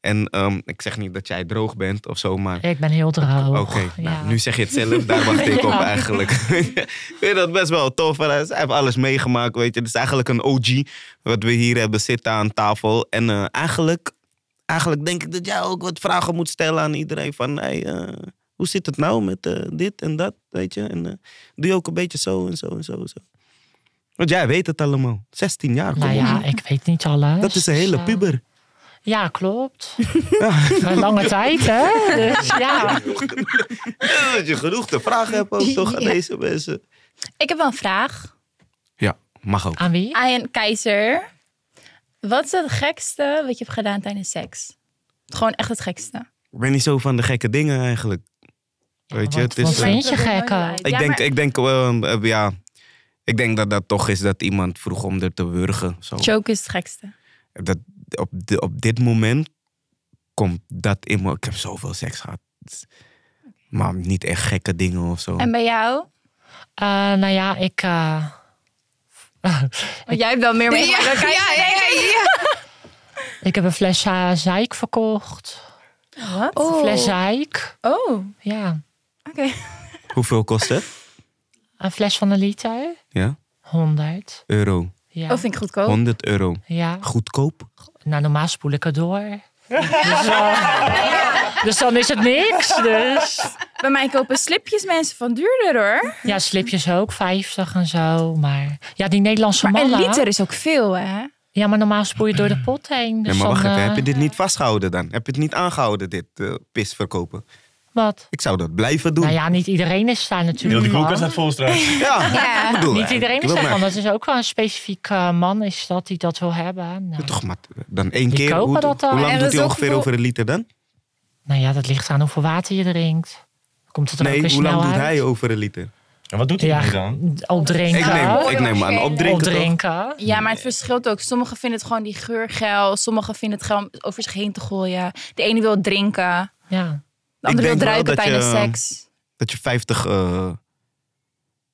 Speaker 2: En ehm, ik zeg niet dat jij droog bent of zo, maar.
Speaker 1: Ik ben heel droog.
Speaker 2: Oké,
Speaker 1: Ja.
Speaker 2: nou, nu zeg je het zelf, daar wacht ik op eigenlijk. ik vind dat best wel tof. want Hij heeft alles meegemaakt, weet je. Het is eigenlijk een OG wat we hier hebben zitten aan tafel. En eh, eigenlijk, eigenlijk denk ik dat jij ook wat vragen moet stellen aan iedereen. Van, hey, eh, hoe zit het nou met eh, dit en dat, weet je. En eh, doe je ook een beetje zo en zo en zo en zo. Want jij weet het allemaal. 16 jaar, kom
Speaker 1: Nou
Speaker 2: op.
Speaker 1: ja, ik weet niet alles.
Speaker 2: Dat is een
Speaker 1: Dus,
Speaker 2: hele
Speaker 1: eh,
Speaker 2: puber.
Speaker 1: Ja, klopt. Een lange tijd, hè? Dus ja.
Speaker 2: Dat je genoeg te vragen hebt ook toch aan deze mensen.
Speaker 4: Ik heb wel een vraag
Speaker 2: Ja, mag ook.
Speaker 1: Aan wie?
Speaker 4: aan Keizer. Wat is het gekste wat je hebt gedaan tijdens seks? Gewoon echt het gekste.
Speaker 2: Ik ben niet zo van de gekke dingen eigenlijk. Weet je, het
Speaker 1: Wat,
Speaker 2: is.
Speaker 1: wat
Speaker 2: eh,
Speaker 1: vind je gek ook?
Speaker 2: ik,
Speaker 4: Ja,
Speaker 2: denk,
Speaker 4: maar-
Speaker 2: ik denk, eh, eh, ja. Ik denk dat dat toch is dat iemand vroeg om er te wurgen. Zo.
Speaker 4: Choke is het gekste.
Speaker 2: Dat op, di- op dit moment komt dat in me. Ik heb zoveel seks gehad. Het is- Maar niet echt gekke dingen of zo.
Speaker 4: En bij jou?
Speaker 1: Eh, nou ja, ik... eh,
Speaker 4: Want jij hebt wel meer mee.
Speaker 3: Ja, ja, ja, ja, ja.
Speaker 1: Ik heb een fles eh, zeik verkocht.
Speaker 4: Wat?
Speaker 1: Een fles zeik.
Speaker 4: Oh, oké.
Speaker 1: Ja.
Speaker 2: Hoeveel kost het?
Speaker 1: Een fles van een liter.
Speaker 2: Ja?
Speaker 1: 100.
Speaker 2: Euro.
Speaker 1: Ja.
Speaker 4: Oh, vind ik goedkoop.
Speaker 2: 100 euro.
Speaker 1: ja.
Speaker 2: Goedkoop.
Speaker 1: Nou, normaal spoel ik het door. Dus, eh, dus dan is het niks. Dus.
Speaker 4: Bij mij kopen slipjes mensen van duurder hoor.
Speaker 1: Ja, slipjes ook, 50 en zo. Maar ja, die Nederlandse
Speaker 4: Maar een
Speaker 1: mannen.
Speaker 4: liter is ook veel hè?
Speaker 1: Ja, maar normaal spoel je door de pot heen. Dus
Speaker 2: Nee, maar wacht
Speaker 1: dan,
Speaker 2: even.
Speaker 1: eh,
Speaker 2: Heb je dit niet vastgehouden dan? Heb je het niet aangehouden, dit eh, pis verkopen?
Speaker 1: Wat?
Speaker 2: Ik zou dat blijven doen.
Speaker 1: Nou ja, niet iedereen is daar natuurlijk
Speaker 5: Heel die
Speaker 1: van.
Speaker 5: koelkast staat vol straks.
Speaker 2: Ja,
Speaker 3: Ja.
Speaker 2: ik bedoel, eh,
Speaker 1: Niet iedereen is
Speaker 2: ik wil
Speaker 1: daarvan.
Speaker 2: maar-
Speaker 1: Dat is ook wel een specifiek eh, man is dat die dat wil hebben. Nou,
Speaker 2: Toch, maar dan één
Speaker 1: Die
Speaker 2: keer.
Speaker 1: kopen
Speaker 2: Hoe,
Speaker 1: dat eh, dan.
Speaker 2: hoe
Speaker 3: Er
Speaker 2: lang doet
Speaker 3: is
Speaker 2: hij
Speaker 3: ook
Speaker 2: ongeveer
Speaker 3: veel-
Speaker 2: over een liter dan?
Speaker 1: nou ja, dat ligt aan hoeveel water je drinkt. Komt het er ook
Speaker 2: Nee,
Speaker 1: weer
Speaker 2: hoe
Speaker 1: snel
Speaker 2: lang doet
Speaker 1: uit?
Speaker 2: hij over een liter?
Speaker 5: En wat doet hij
Speaker 1: Ja,
Speaker 5: nu dan?
Speaker 1: opdrinken.
Speaker 2: Ik neem, ik neem aan, opdrinken. toch?
Speaker 1: opdrinken.
Speaker 4: Ja, maar het verschilt ook. Sommigen vinden het gewoon die geur geil. Sommigen vinden het geil om over zich heen te gooien. De ene wil drinken.
Speaker 1: Ja.
Speaker 4: De andere
Speaker 2: denk wel
Speaker 4: wil druiken
Speaker 2: dat
Speaker 4: tijdens
Speaker 2: je-
Speaker 4: seks.
Speaker 2: Dat je 50, eh,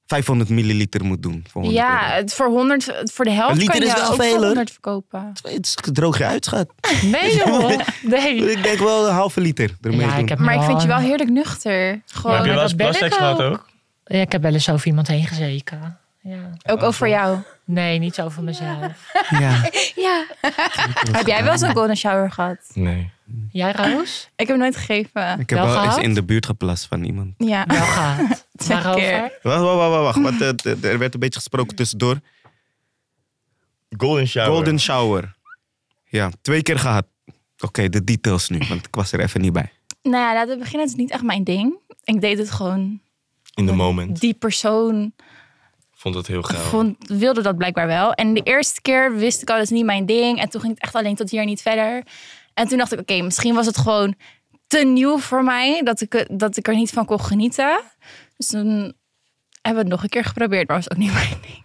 Speaker 2: 500 milliliter moet doen. Voor 100
Speaker 4: Ja,
Speaker 2: euro.
Speaker 4: het voor, 100, voor de helft
Speaker 6: Een liter
Speaker 4: kan je
Speaker 6: is wel
Speaker 4: ook
Speaker 6: veel,
Speaker 4: voor
Speaker 6: hoor.
Speaker 4: 100 verkopen.
Speaker 2: Het is droog je uit, schat.
Speaker 1: Nee, joh. Nee.
Speaker 2: Ik denk wel een halve liter ermee
Speaker 1: Ja,
Speaker 2: doen.
Speaker 1: ik heb
Speaker 4: Maar
Speaker 1: nu
Speaker 4: ik vind je wel
Speaker 1: een-
Speaker 4: heerlijk nuchter.
Speaker 5: Maar heb
Speaker 4: Gewoon,
Speaker 5: je wel eens
Speaker 1: dat ben ik
Speaker 5: plasseks gehad
Speaker 1: ook.
Speaker 5: ook?
Speaker 1: Ja, ik heb wel eens over iemand heen gezeken. Ja.
Speaker 4: ook over jou.
Speaker 1: Nee, niet over mezelf.
Speaker 2: Ja.
Speaker 3: Ja.
Speaker 4: Heb jij wel zo'n golden shower gehad?
Speaker 5: Nee.
Speaker 1: Jij, Roos?
Speaker 4: Ik heb hem nooit gegeven.
Speaker 2: Ik heb
Speaker 1: Wel
Speaker 2: wel eens
Speaker 1: gehad?
Speaker 2: in de buurt geplast van iemand.
Speaker 4: Ja.
Speaker 1: Wel gaat.
Speaker 4: Twee
Speaker 1: Waarover?
Speaker 4: keer.
Speaker 2: Wacht, wacht, wacht. wacht. Want, eh, d- er werd een beetje gesproken tussendoor.
Speaker 5: Golden shower.
Speaker 2: Golden shower. Ja, twee keer gehad. Oké, de details nu, want ik was er even niet bij.
Speaker 4: Nou ja, laten we beginnen. Het is niet echt mijn ding. Ik deed het gewoon.
Speaker 5: In the moment.
Speaker 4: Die persoon
Speaker 5: Vond dat heel gaaf.
Speaker 4: vond, wilde dat blijkbaar wel. En de eerste keer wist ik al, dat is niet mijn ding. En toen ging het echt alleen tot hier en niet verder. En toen dacht ik, oké, misschien was het gewoon te nieuw voor mij. Dat ik, het- dat ik er niet van kon genieten. Dus toen hebben we het nog een keer geprobeerd. Maar was ook niet mijn ding.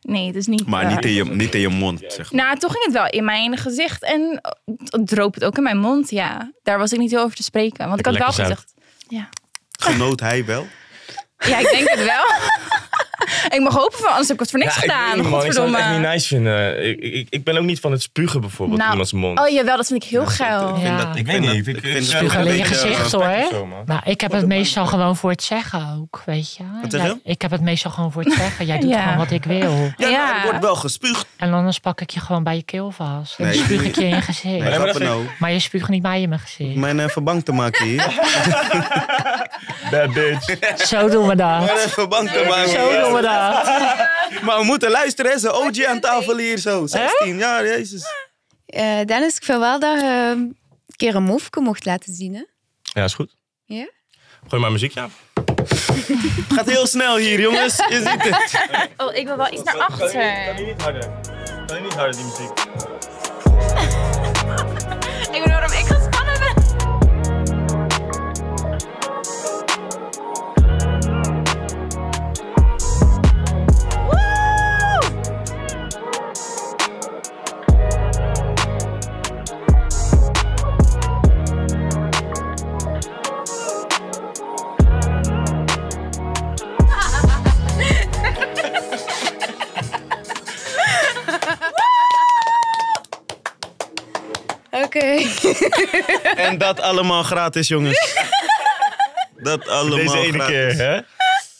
Speaker 4: Nee, het is niet...
Speaker 2: Maar
Speaker 4: eh,
Speaker 2: niet in je, niet in je mond, zeg maar.
Speaker 4: Nou, toen ging het wel in mijn gezicht en het droop het ook in mijn mond. Ja, daar was ik niet heel over te spreken, want ik had
Speaker 5: Lekker
Speaker 4: wel
Speaker 5: zout.
Speaker 4: gezegd. Ja.
Speaker 2: Genoot hij wel?
Speaker 4: ja, ik denk het wel. ik mag hopen van, anders heb ik het voor niks
Speaker 5: ik weet
Speaker 4: gedaan.
Speaker 5: niet, man. Ik zou het echt
Speaker 4: Godverdomme.
Speaker 5: niet nice vinden. Ik, ik, ik ben ook niet van het spugen bijvoorbeeld
Speaker 4: Nou,
Speaker 5: in iemands mond.
Speaker 4: Oh jawel, dat vind ik heel geil.
Speaker 1: Ja.
Speaker 5: Ik weet niet.
Speaker 2: dat-
Speaker 5: Ik
Speaker 2: vind
Speaker 5: vind
Speaker 2: dat-
Speaker 1: Spugen in je
Speaker 5: een beetje
Speaker 1: gezicht
Speaker 5: respect of
Speaker 1: hoor.
Speaker 5: zo, man.
Speaker 1: Maar ik heb het meestal gewoon voor het zeggen ook, weet je.
Speaker 2: zeg je?
Speaker 1: Ja, ik heb het meestal gewoon voor het zeggen. Jij doet
Speaker 4: Ja.
Speaker 1: gewoon wat ik wil.
Speaker 2: Ja,
Speaker 4: Ja.
Speaker 2: nou, er wordt wel gespuugd.
Speaker 1: En anders pak ik je gewoon bij je keel vast. En dan
Speaker 2: Nee.
Speaker 1: spuug ik je in je gezicht.
Speaker 2: Nee,
Speaker 5: maar
Speaker 2: grappen
Speaker 5: dat
Speaker 2: nou.
Speaker 1: Maar je spuugt niet mij in mijn gezicht.
Speaker 2: Mijn even bang te maken hier.
Speaker 5: Bad bitch.
Speaker 1: Zo doen we dat.
Speaker 2: Mijn even bang te maken.
Speaker 1: Zo doen we dat.
Speaker 2: Maar we moeten luisteren, hè. Ze OG aan tafel hier zo. 16 jaar, jezus.
Speaker 3: Eh, Dennis, ik vind wel dat je een keer een move mocht laten zien. Hè?
Speaker 5: Ja, is goed.
Speaker 3: Ja?
Speaker 5: Gooi maar muziek, ja.
Speaker 2: Het gaat heel snel hier, jongens. Je ziet het.
Speaker 4: Oh, ik wil wel iets naar achter.
Speaker 5: niet harder? Kan je niet harder die muziek?
Speaker 4: Ik weet niet waarom ik gespannen ben.
Speaker 3: Oké.
Speaker 2: En dat allemaal gratis, jongens. Dat allemaal
Speaker 5: Deze ene
Speaker 2: gratis.
Speaker 5: keer, hè?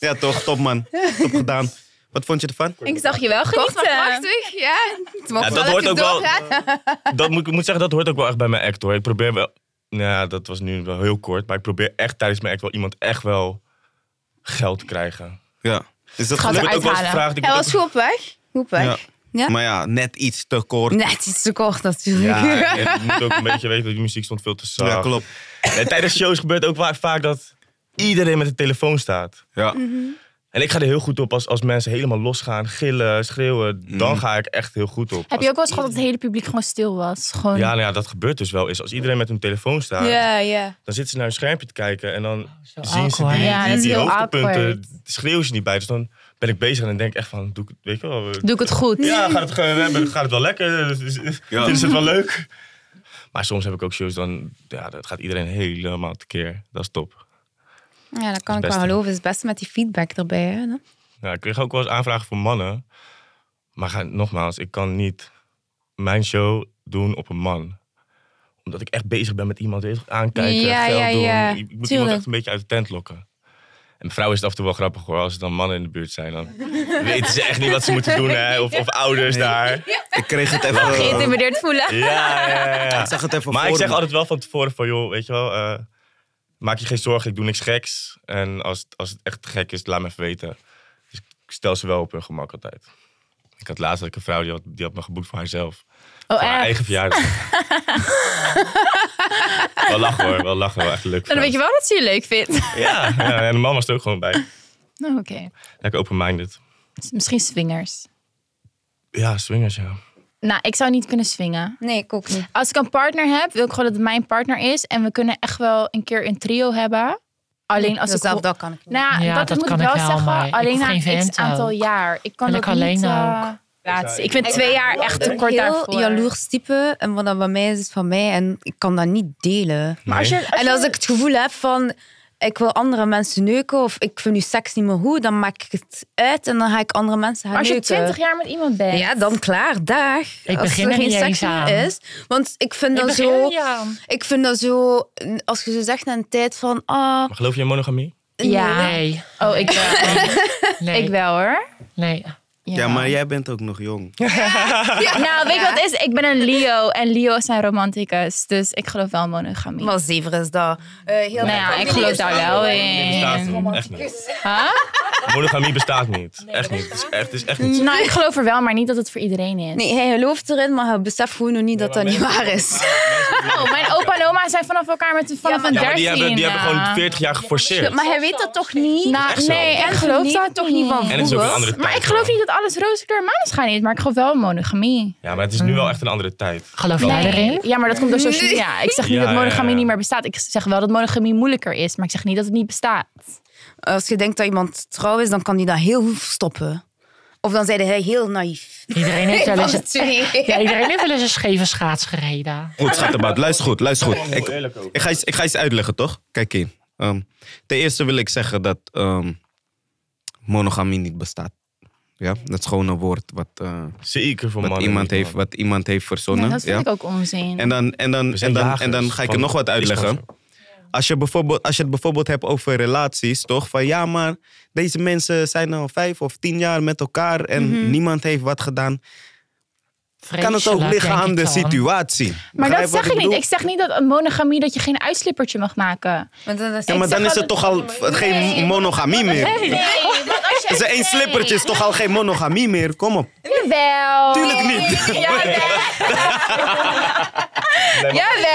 Speaker 2: Ja, toch, top man. Top gedaan. Wat vond je ervan?
Speaker 4: Ik zag je wel genieten.
Speaker 3: Prachtig, ja. Het mocht
Speaker 5: Ja, dat
Speaker 3: wel
Speaker 5: hoort
Speaker 3: even
Speaker 5: ook wel-
Speaker 3: doorgaan.
Speaker 5: Dat moet, ik moet zeggen, dat hoort ook wel echt bij mijn act, hoor. Ik probeer wel... Nou, ja, dat was nu wel heel kort. Maar ik probeer echt tijdens mijn act wel iemand echt wel geld te krijgen.
Speaker 2: Ja. Is dat
Speaker 4: Gaat
Speaker 2: gelukt?
Speaker 5: Ik word ook wel eens
Speaker 4: uithalen.
Speaker 5: gevraagd. Ik
Speaker 3: Hij
Speaker 5: word
Speaker 3: was
Speaker 5: ook-
Speaker 3: goed op weg. Goed op
Speaker 2: Ja.
Speaker 3: weg. Ja?
Speaker 2: Maar ja, net iets te kort.
Speaker 3: Net iets te kort natuurlijk.
Speaker 5: Ja, en je moet ook een beetje weten dat die muziek stond veel te zacht.
Speaker 2: Ja, klopt.
Speaker 5: En tijdens shows gebeurt ook vaak, vaak dat iedereen met de telefoon staat.
Speaker 2: Ja.
Speaker 5: En ik ga er heel goed op als, als mensen helemaal losgaan, gillen, schreeuwen. Dan ga ik echt heel goed op.
Speaker 4: Heb je ook wel eens gehad dat het hele publiek gewoon stil was? Gewoon...
Speaker 5: Ja, nou ja, dat gebeurt dus wel eens. Als iedereen met hun telefoon staat,
Speaker 3: Ja, ja.
Speaker 5: dan zitten ze naar hun schermpje te kijken. En dan
Speaker 1: Oh, Zo
Speaker 5: zien ze
Speaker 1: awkward.
Speaker 5: die,
Speaker 4: Ja,
Speaker 5: die,
Speaker 4: dat is
Speaker 5: die
Speaker 4: heel
Speaker 5: hoogtepunten,
Speaker 4: awkward.
Speaker 5: schreeuwen ze niet bij. Dus dan ben ik bezig en denk ik echt van, doe ik, weet je wel... eh,
Speaker 4: Doe ik het goed?
Speaker 5: Ja, gaat het, ge- we hebben- gaat het wel lekker? Dus- dus- Vinden ze het wel leuk? Maar soms heb ik ook shows, dan ja, dat gaat iedereen helemaal tekeer. Dat is top.
Speaker 3: Ja, dat kan ik
Speaker 5: Best,
Speaker 3: wel
Speaker 5: hè?
Speaker 3: geloven. Het is best met die feedback erbij. Hè?
Speaker 5: Ja, ik kreeg ook wel eens aanvragen voor mannen. Maar ga, nogmaals, ik kan niet mijn show doen op een man. Omdat ik echt bezig ben met iemand weet je, aankijken,
Speaker 3: Ja,
Speaker 5: geld
Speaker 3: ja,
Speaker 5: doen.
Speaker 3: ja.
Speaker 5: Ik moet iemand
Speaker 3: Tuurlijk.
Speaker 5: echt een beetje uit de tent lokken. En vrouw is het af en toe wel grappig hoor. Als er dan mannen in de buurt zijn, dan weten ze echt niet wat ze moeten doen. Hè? Of, of ouders daar.
Speaker 2: Ik kreeg het even...
Speaker 4: Geïntimideerd voelen.
Speaker 5: Ja, ja, ja.
Speaker 2: ik zag het even
Speaker 5: Maar ik
Speaker 2: voor
Speaker 5: zeg
Speaker 2: me.
Speaker 5: altijd wel van tevoren van, joh, weet je wel, eh, maak je geen zorgen, ik doe niks geks. En als, het- als het echt gek is, laat me even weten. Dus ik stel ze wel op hun gemak altijd. Ik had laatst had ik een vrouw, die had, die had me geboekt voor haarzelf.
Speaker 4: Oh,
Speaker 5: voor haar
Speaker 4: echt?
Speaker 5: eigen verjaardag. wel lachen hoor, wel lachen, wel echt leuk.
Speaker 4: Dan weet je wel dat ze je leuk vindt.
Speaker 5: Ja, ja, en de man was er ook gewoon bij.
Speaker 4: Nou, Oké.
Speaker 5: Lekker open-minded.
Speaker 4: Misschien swingers.
Speaker 5: Ja, swingers, ja.
Speaker 4: Nou, ik zou niet kunnen swingen.
Speaker 3: Nee, ik ook niet.
Speaker 4: Als ik een partner heb, wil ik gewoon dat het mijn partner is. En we kunnen echt wel een keer een trio hebben. Alleen als
Speaker 3: dat
Speaker 4: ik...
Speaker 3: Dus zelf, dat kan ik niet.
Speaker 4: Nou,
Speaker 1: Ja,
Speaker 4: dat,
Speaker 1: dat
Speaker 4: moet
Speaker 1: kan
Speaker 4: ik
Speaker 1: ik
Speaker 4: wel
Speaker 1: wel,
Speaker 4: zeggen.
Speaker 1: maar ik
Speaker 4: alleen
Speaker 1: hoef
Speaker 4: na
Speaker 1: geen
Speaker 4: een
Speaker 1: vent
Speaker 4: x aantal
Speaker 1: ook.
Speaker 4: jaar. Ik kan
Speaker 1: Wil
Speaker 4: dat
Speaker 1: ik alleen
Speaker 4: niet... eh,
Speaker 1: ook.
Speaker 4: plaatsen. Ik vind twee jaar echt te
Speaker 3: Een
Speaker 4: kort daarvoor.
Speaker 3: heel jaloers type. En wat dan bij mij is, is van mij. En ik kan dat niet delen.
Speaker 5: Maar
Speaker 4: als je-
Speaker 3: En als ik het gevoel heb van... ik wil andere mensen neuken of ik vind nu seks niet meer goed, dan maak ik het uit en dan ga ik andere mensen gaan
Speaker 4: Maar als je
Speaker 3: neuken.
Speaker 4: 20 jaar met iemand bent.
Speaker 3: eh. Ja, dan klaar, dag.
Speaker 1: Ik
Speaker 3: als
Speaker 1: begin
Speaker 3: er
Speaker 1: er
Speaker 3: geen
Speaker 1: niet
Speaker 3: seks
Speaker 1: eens aan.
Speaker 3: meer is. Want ik vind
Speaker 1: Ik
Speaker 3: dat
Speaker 1: begin
Speaker 3: zo...
Speaker 1: er niet aan.
Speaker 3: Ik vind dat zo... Als je zo zegt na een tijd van... Ah,
Speaker 5: Maar geloof je in monogamie?
Speaker 4: Ja.
Speaker 1: Nee,
Speaker 4: Oh, ik wel.
Speaker 1: nee,
Speaker 4: Ik wel hoor.
Speaker 1: nee.
Speaker 2: Ja, maar jij bent ook nog jong.
Speaker 4: Nou, weet je wat het is? Ik ben een Leo en Leo's zijn romanticus. Dus ik geloof wel in monogamie.
Speaker 3: maar zever is dat. Eh, heel
Speaker 4: nou ja, ik geloof daar wel
Speaker 5: Bestaat
Speaker 4: in.
Speaker 5: niet. Echt niet.
Speaker 4: Huh?
Speaker 5: Monogamie bestaat niet. Echt niet. Het is echt, het is echt niet.
Speaker 4: Nou, ik geloof er wel, maar niet dat het voor iedereen is.
Speaker 3: Nee, hij gelooft erin, maar hij beseft gewoon nog niet dat dat niet waar is.
Speaker 4: Oh, mijn opa en oma zijn vanaf elkaar met een vanaf een
Speaker 5: Ja,
Speaker 4: 13.
Speaker 5: maar die hebben, die hebben gewoon 40 jaar geforceerd.
Speaker 3: Maar hij weet dat toch niet?
Speaker 4: Nou,
Speaker 5: zo.
Speaker 4: nee, en
Speaker 3: Kent
Speaker 4: geloof
Speaker 3: het
Speaker 4: daar
Speaker 3: niet,
Speaker 4: toch
Speaker 3: toch
Speaker 4: niet van
Speaker 3: niet.
Speaker 5: En het is ook een andere tijd.
Speaker 4: Maar ik geloof
Speaker 5: hoor.
Speaker 4: niet dat alles roze kleur maneschijn is, maar ik geloof wel in monogamie.
Speaker 5: Ja, maar het is nu wel echt een andere tijd.
Speaker 1: Geloof jij erin?
Speaker 4: Ja, maar dat komt door social media. Ik zeg niet
Speaker 5: Ja,
Speaker 4: dat monogamie
Speaker 5: ja, ja.
Speaker 4: niet meer bestaat. Ik zeg wel dat monogamie moeilijker is, maar ik zeg niet dat het niet bestaat.
Speaker 3: Als je denkt dat iemand trouw is, dan kan hij dat heel goed verstoppen. Of dan zei hij heel naïef.
Speaker 1: Iedereen heeft wel eens, ja,
Speaker 3: Ja,
Speaker 1: iedereen heeft wel eens een scheve schaats gereden.
Speaker 2: Goed, schattenbaat. Luister goed, luister goed. Ik,
Speaker 5: eerlijk ook.
Speaker 2: ik, ga, iets, ik ga iets uitleggen, toch? Kijk in. Ehm, ten eerste wil ik zeggen dat ehm, monogamie niet bestaat. Ja, dat is gewoon een woord wat, eh,
Speaker 5: Zeker voor
Speaker 2: wat,
Speaker 5: mannen.
Speaker 2: iemand,
Speaker 5: niet,
Speaker 2: heeft,
Speaker 5: man.
Speaker 2: wat iemand heeft
Speaker 4: Ja,
Speaker 2: verzonnen.
Speaker 4: dat vind
Speaker 2: ja?
Speaker 4: ik ook onzin.
Speaker 2: En dan, en dan,
Speaker 5: We zijn
Speaker 2: en dan, en
Speaker 5: jagers
Speaker 2: dan ga ik er
Speaker 5: van
Speaker 2: nog wat uitleggen.
Speaker 5: disco's.
Speaker 2: Als je, bijvoorbeeld, als je het bijvoorbeeld hebt over relaties, toch? Van ja, maar deze mensen zijn al vijf of tien jaar met elkaar en
Speaker 4: Mhm.
Speaker 2: niemand heeft wat gedaan. Kan het ook
Speaker 1: Vreselijk,
Speaker 2: liggen
Speaker 1: denk
Speaker 2: aan
Speaker 1: ik
Speaker 2: de
Speaker 1: dan.
Speaker 2: situatie?
Speaker 4: maar
Speaker 2: Begrijp
Speaker 4: dat
Speaker 2: wat
Speaker 4: zeg ik niet.
Speaker 2: bedoel?
Speaker 4: Ik zeg niet dat een monogamie dat je geen uitslippertje mag maken.
Speaker 2: Ja, maar
Speaker 4: zeg
Speaker 2: dan is
Speaker 4: al-
Speaker 2: het toch al geen monogamie meer.
Speaker 4: want als je...
Speaker 2: Ze één slippertje is toch al geen monogamie meer? Kom op.
Speaker 4: Jawel.
Speaker 2: Tuurlijk niet.
Speaker 4: Jawel.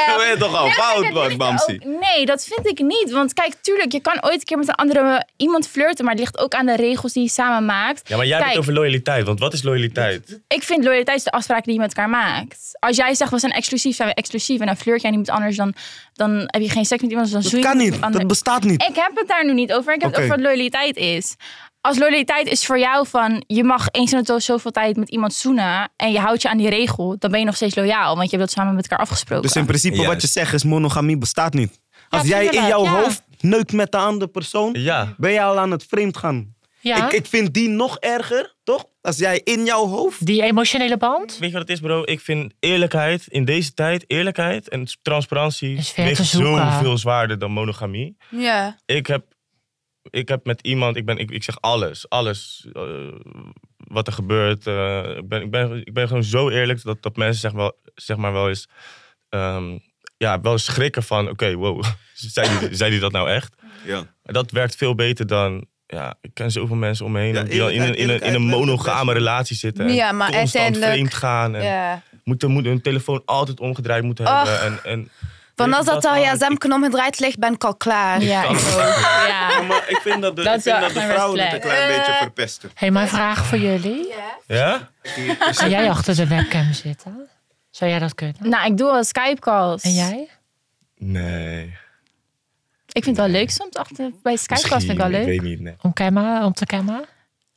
Speaker 2: Dat ben je toch al fout,
Speaker 4: dat
Speaker 2: man,
Speaker 4: ligt
Speaker 2: Bamsi.
Speaker 4: ook- Nee, dat vind ik niet. Want kijk, tuurlijk, je kan ooit een keer met een andere eh, iemand flirten. Maar het ligt ook aan de regels die je samen maakt.
Speaker 5: Ja, maar jij hebt
Speaker 4: Kijk.
Speaker 5: het over loyaliteit. Want wat is loyaliteit?
Speaker 4: Ik vind loyaliteit is de afspraken die je met elkaar maakt. Als jij zegt, we zijn exclusief, zijn we exclusief. En dan flirt jij niet met anders, dan, dan heb je geen seks met iemand. Dus dan
Speaker 2: Dat
Speaker 4: zoei je
Speaker 2: kan niet.
Speaker 4: met
Speaker 2: Dat
Speaker 4: ander-
Speaker 2: bestaat niet.
Speaker 4: ik heb het daar nu niet over. Ik heb
Speaker 2: Oké.
Speaker 4: het over wat loyaliteit is. Als loyaliteit is voor jou van je mag eens in de to- zoveel tijd met iemand zoenen en je houdt je aan die regel, dan ben je nog steeds loyaal, want je hebt dat samen met elkaar afgesproken.
Speaker 2: Dus in principe wat
Speaker 5: Juist.
Speaker 2: je zegt is monogamie bestaat niet. Als jij in
Speaker 1: tuurlijk,
Speaker 2: jouw
Speaker 1: ja.
Speaker 2: hoofd neukt met de andere persoon,
Speaker 5: Ja.
Speaker 2: ben je al aan het vreemd gaan.
Speaker 1: Ja,
Speaker 2: Ik, ik vind die nog erger, toch? Als jij in jouw hoofd...
Speaker 1: die emotionele band
Speaker 5: Weet je wat het is, bro? Ik vind eerlijkheid in deze tijd, eerlijkheid en transparantie
Speaker 1: Is ver te zoeken.
Speaker 5: zoveel zwaarder dan monogamie.
Speaker 3: ja.
Speaker 5: ik heb, ik heb met iemand, ik, ben, ik, ik zeg alles, alles eh, wat er gebeurt. eh, ik, ben, ik, ben, ik ben gewoon zo eerlijk dat, dat mensen zeg maar, zeg maar wel eens, ehm, ja, wel eens schrikken van, oké, wow, zei die, zei die dat nou echt?
Speaker 2: Ja.
Speaker 5: Dat werkt veel beter dan, ja, ik ken zoveel mensen om me heen
Speaker 2: Ja,
Speaker 5: die al in een, in een, in
Speaker 2: eerlijkheid
Speaker 5: een
Speaker 2: werkt het
Speaker 5: monogame
Speaker 2: best.
Speaker 5: relatie zitten. En
Speaker 3: Ja, maar
Speaker 5: constant
Speaker 3: uiteindelijk-
Speaker 5: vreemd gaan en
Speaker 3: ja.
Speaker 5: moeten, moeten hun telefoon altijd omgedraaid moeten
Speaker 3: Ach.
Speaker 5: hebben. En, en,
Speaker 3: Van als dat daar
Speaker 5: man,
Speaker 3: ja,
Speaker 5: ik-
Speaker 3: zemken omgedraaid ligt, ben ik al klaar.
Speaker 4: Ja, ik ook. Ja.
Speaker 2: maar ik vind dat de,
Speaker 4: Dat ik is vind wel dat de echt een vrouwen red Eh. het een
Speaker 3: klein beetje
Speaker 2: verpesten.
Speaker 1: Hé, hey, mijn vraag voor jullie.
Speaker 5: Ja?
Speaker 1: Zou jij achter de webcam zitten? Zou jij dat kunnen?
Speaker 4: Nou, ik doe wel Skype calls.
Speaker 1: En jij?
Speaker 5: Nee.
Speaker 4: Ik vind het wel leuk soms achter bij Skype calls
Speaker 5: Misschien,
Speaker 4: vind ik wel leuk.
Speaker 5: Ik weet niet, nee.
Speaker 1: Om, camera, om te cammen?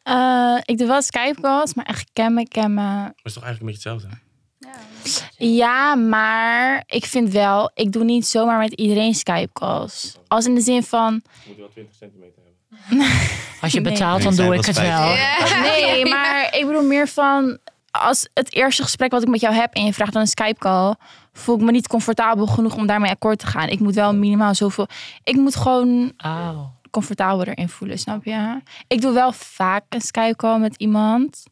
Speaker 4: Eh, ik doe wel Skype calls, maar echt cammen, cammen.
Speaker 5: Maar het is toch eigenlijk een beetje hetzelfde?
Speaker 4: Ja, maar ik vind wel, ik doe niet zomaar met iedereen Skype calls. Als in de zin van,
Speaker 5: Moet je wel 20 centimeter hebben.
Speaker 1: Als je
Speaker 4: Nee.
Speaker 1: betaalt, dan
Speaker 2: Nee,
Speaker 1: doe
Speaker 2: zij
Speaker 1: ik
Speaker 2: was
Speaker 1: het wel.
Speaker 2: vijf.
Speaker 4: Nee, maar ik bedoel meer van als het eerste gesprek wat ik met jou heb en je vraagt dan een Skype call, voel ik me niet comfortabel genoeg om daarmee akkoord te gaan. Ik moet wel minimaal zoveel. Ik moet gewoon
Speaker 1: Oh.
Speaker 4: comfortabeler erin voelen, snap je? Ik doe wel vaak een Skype call met iemand.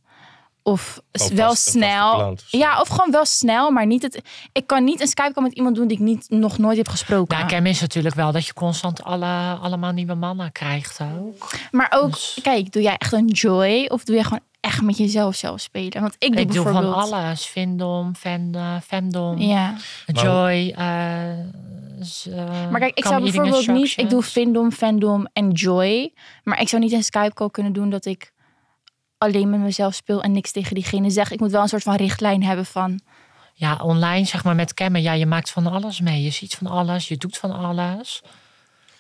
Speaker 4: Of
Speaker 5: Gewoon
Speaker 4: wel
Speaker 5: vast- een vaste
Speaker 4: snel.
Speaker 5: klant of zo.
Speaker 4: Ja, of gewoon wel snel, maar niet het. Ik kan niet een Skype call met iemand doen die ik niet, nog nooit heb gesproken.
Speaker 1: Nou, cam is natuurlijk wel dat je constant alle, allemaal nieuwe mannen krijgt ook.
Speaker 4: Maar ook,
Speaker 1: dus-
Speaker 4: kijk, doe jij echt een joy of doe jij gewoon echt met jezelf zelf spelen? Want ik doe
Speaker 1: Ik doe
Speaker 4: bijvoorbeeld.
Speaker 1: van alles. Vindom, fan, eh, femdom,
Speaker 4: Ja.
Speaker 1: joy. eh, z- eh,
Speaker 4: Maar kijk, ik zou
Speaker 1: come eating
Speaker 4: bijvoorbeeld niet... Ik
Speaker 1: instructions.
Speaker 4: doe Vindom, Fandom en Joy. Maar ik zou niet een Skype call kunnen doen dat ik alleen met mezelf speel en niks tegen diegene zeg. Ik moet wel een soort van richtlijn hebben van...
Speaker 1: Ja, online zeg maar met cammen. Ja, je maakt van alles mee. Je ziet van alles, je doet van alles.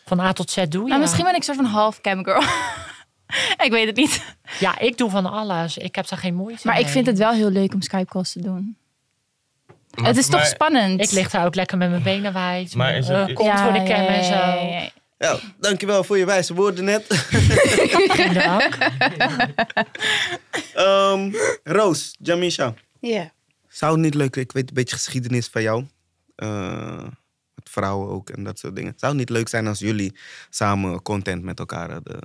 Speaker 1: Van A tot Z doe je.
Speaker 4: Nou, misschien ben ik een soort van half camgirl. ik weet het niet.
Speaker 1: Ja, ik doe van alles. Ik heb daar geen moeite
Speaker 4: Maar
Speaker 1: mee.
Speaker 4: ik vind het wel heel leuk om Skype calls te doen. het is
Speaker 5: voor
Speaker 4: toch
Speaker 5: mij-
Speaker 4: spannend?
Speaker 1: Ik lig daar ook lekker met mijn benen wijd.
Speaker 5: Maar
Speaker 1: mijn,
Speaker 5: is het-
Speaker 1: eh, kont voor de cam en zo.
Speaker 4: ja, ja, ja.
Speaker 2: Ja, dankjewel voor je wijze woorden net.
Speaker 1: Dank.
Speaker 2: Ehm, Roos, Jamisha.
Speaker 3: Ja.
Speaker 2: Zou het niet leuk, ik weet een beetje geschiedenis van jou. eh, met vrouwen ook en dat soort dingen. Zou het niet leuk zijn als jullie samen content met elkaar hadden?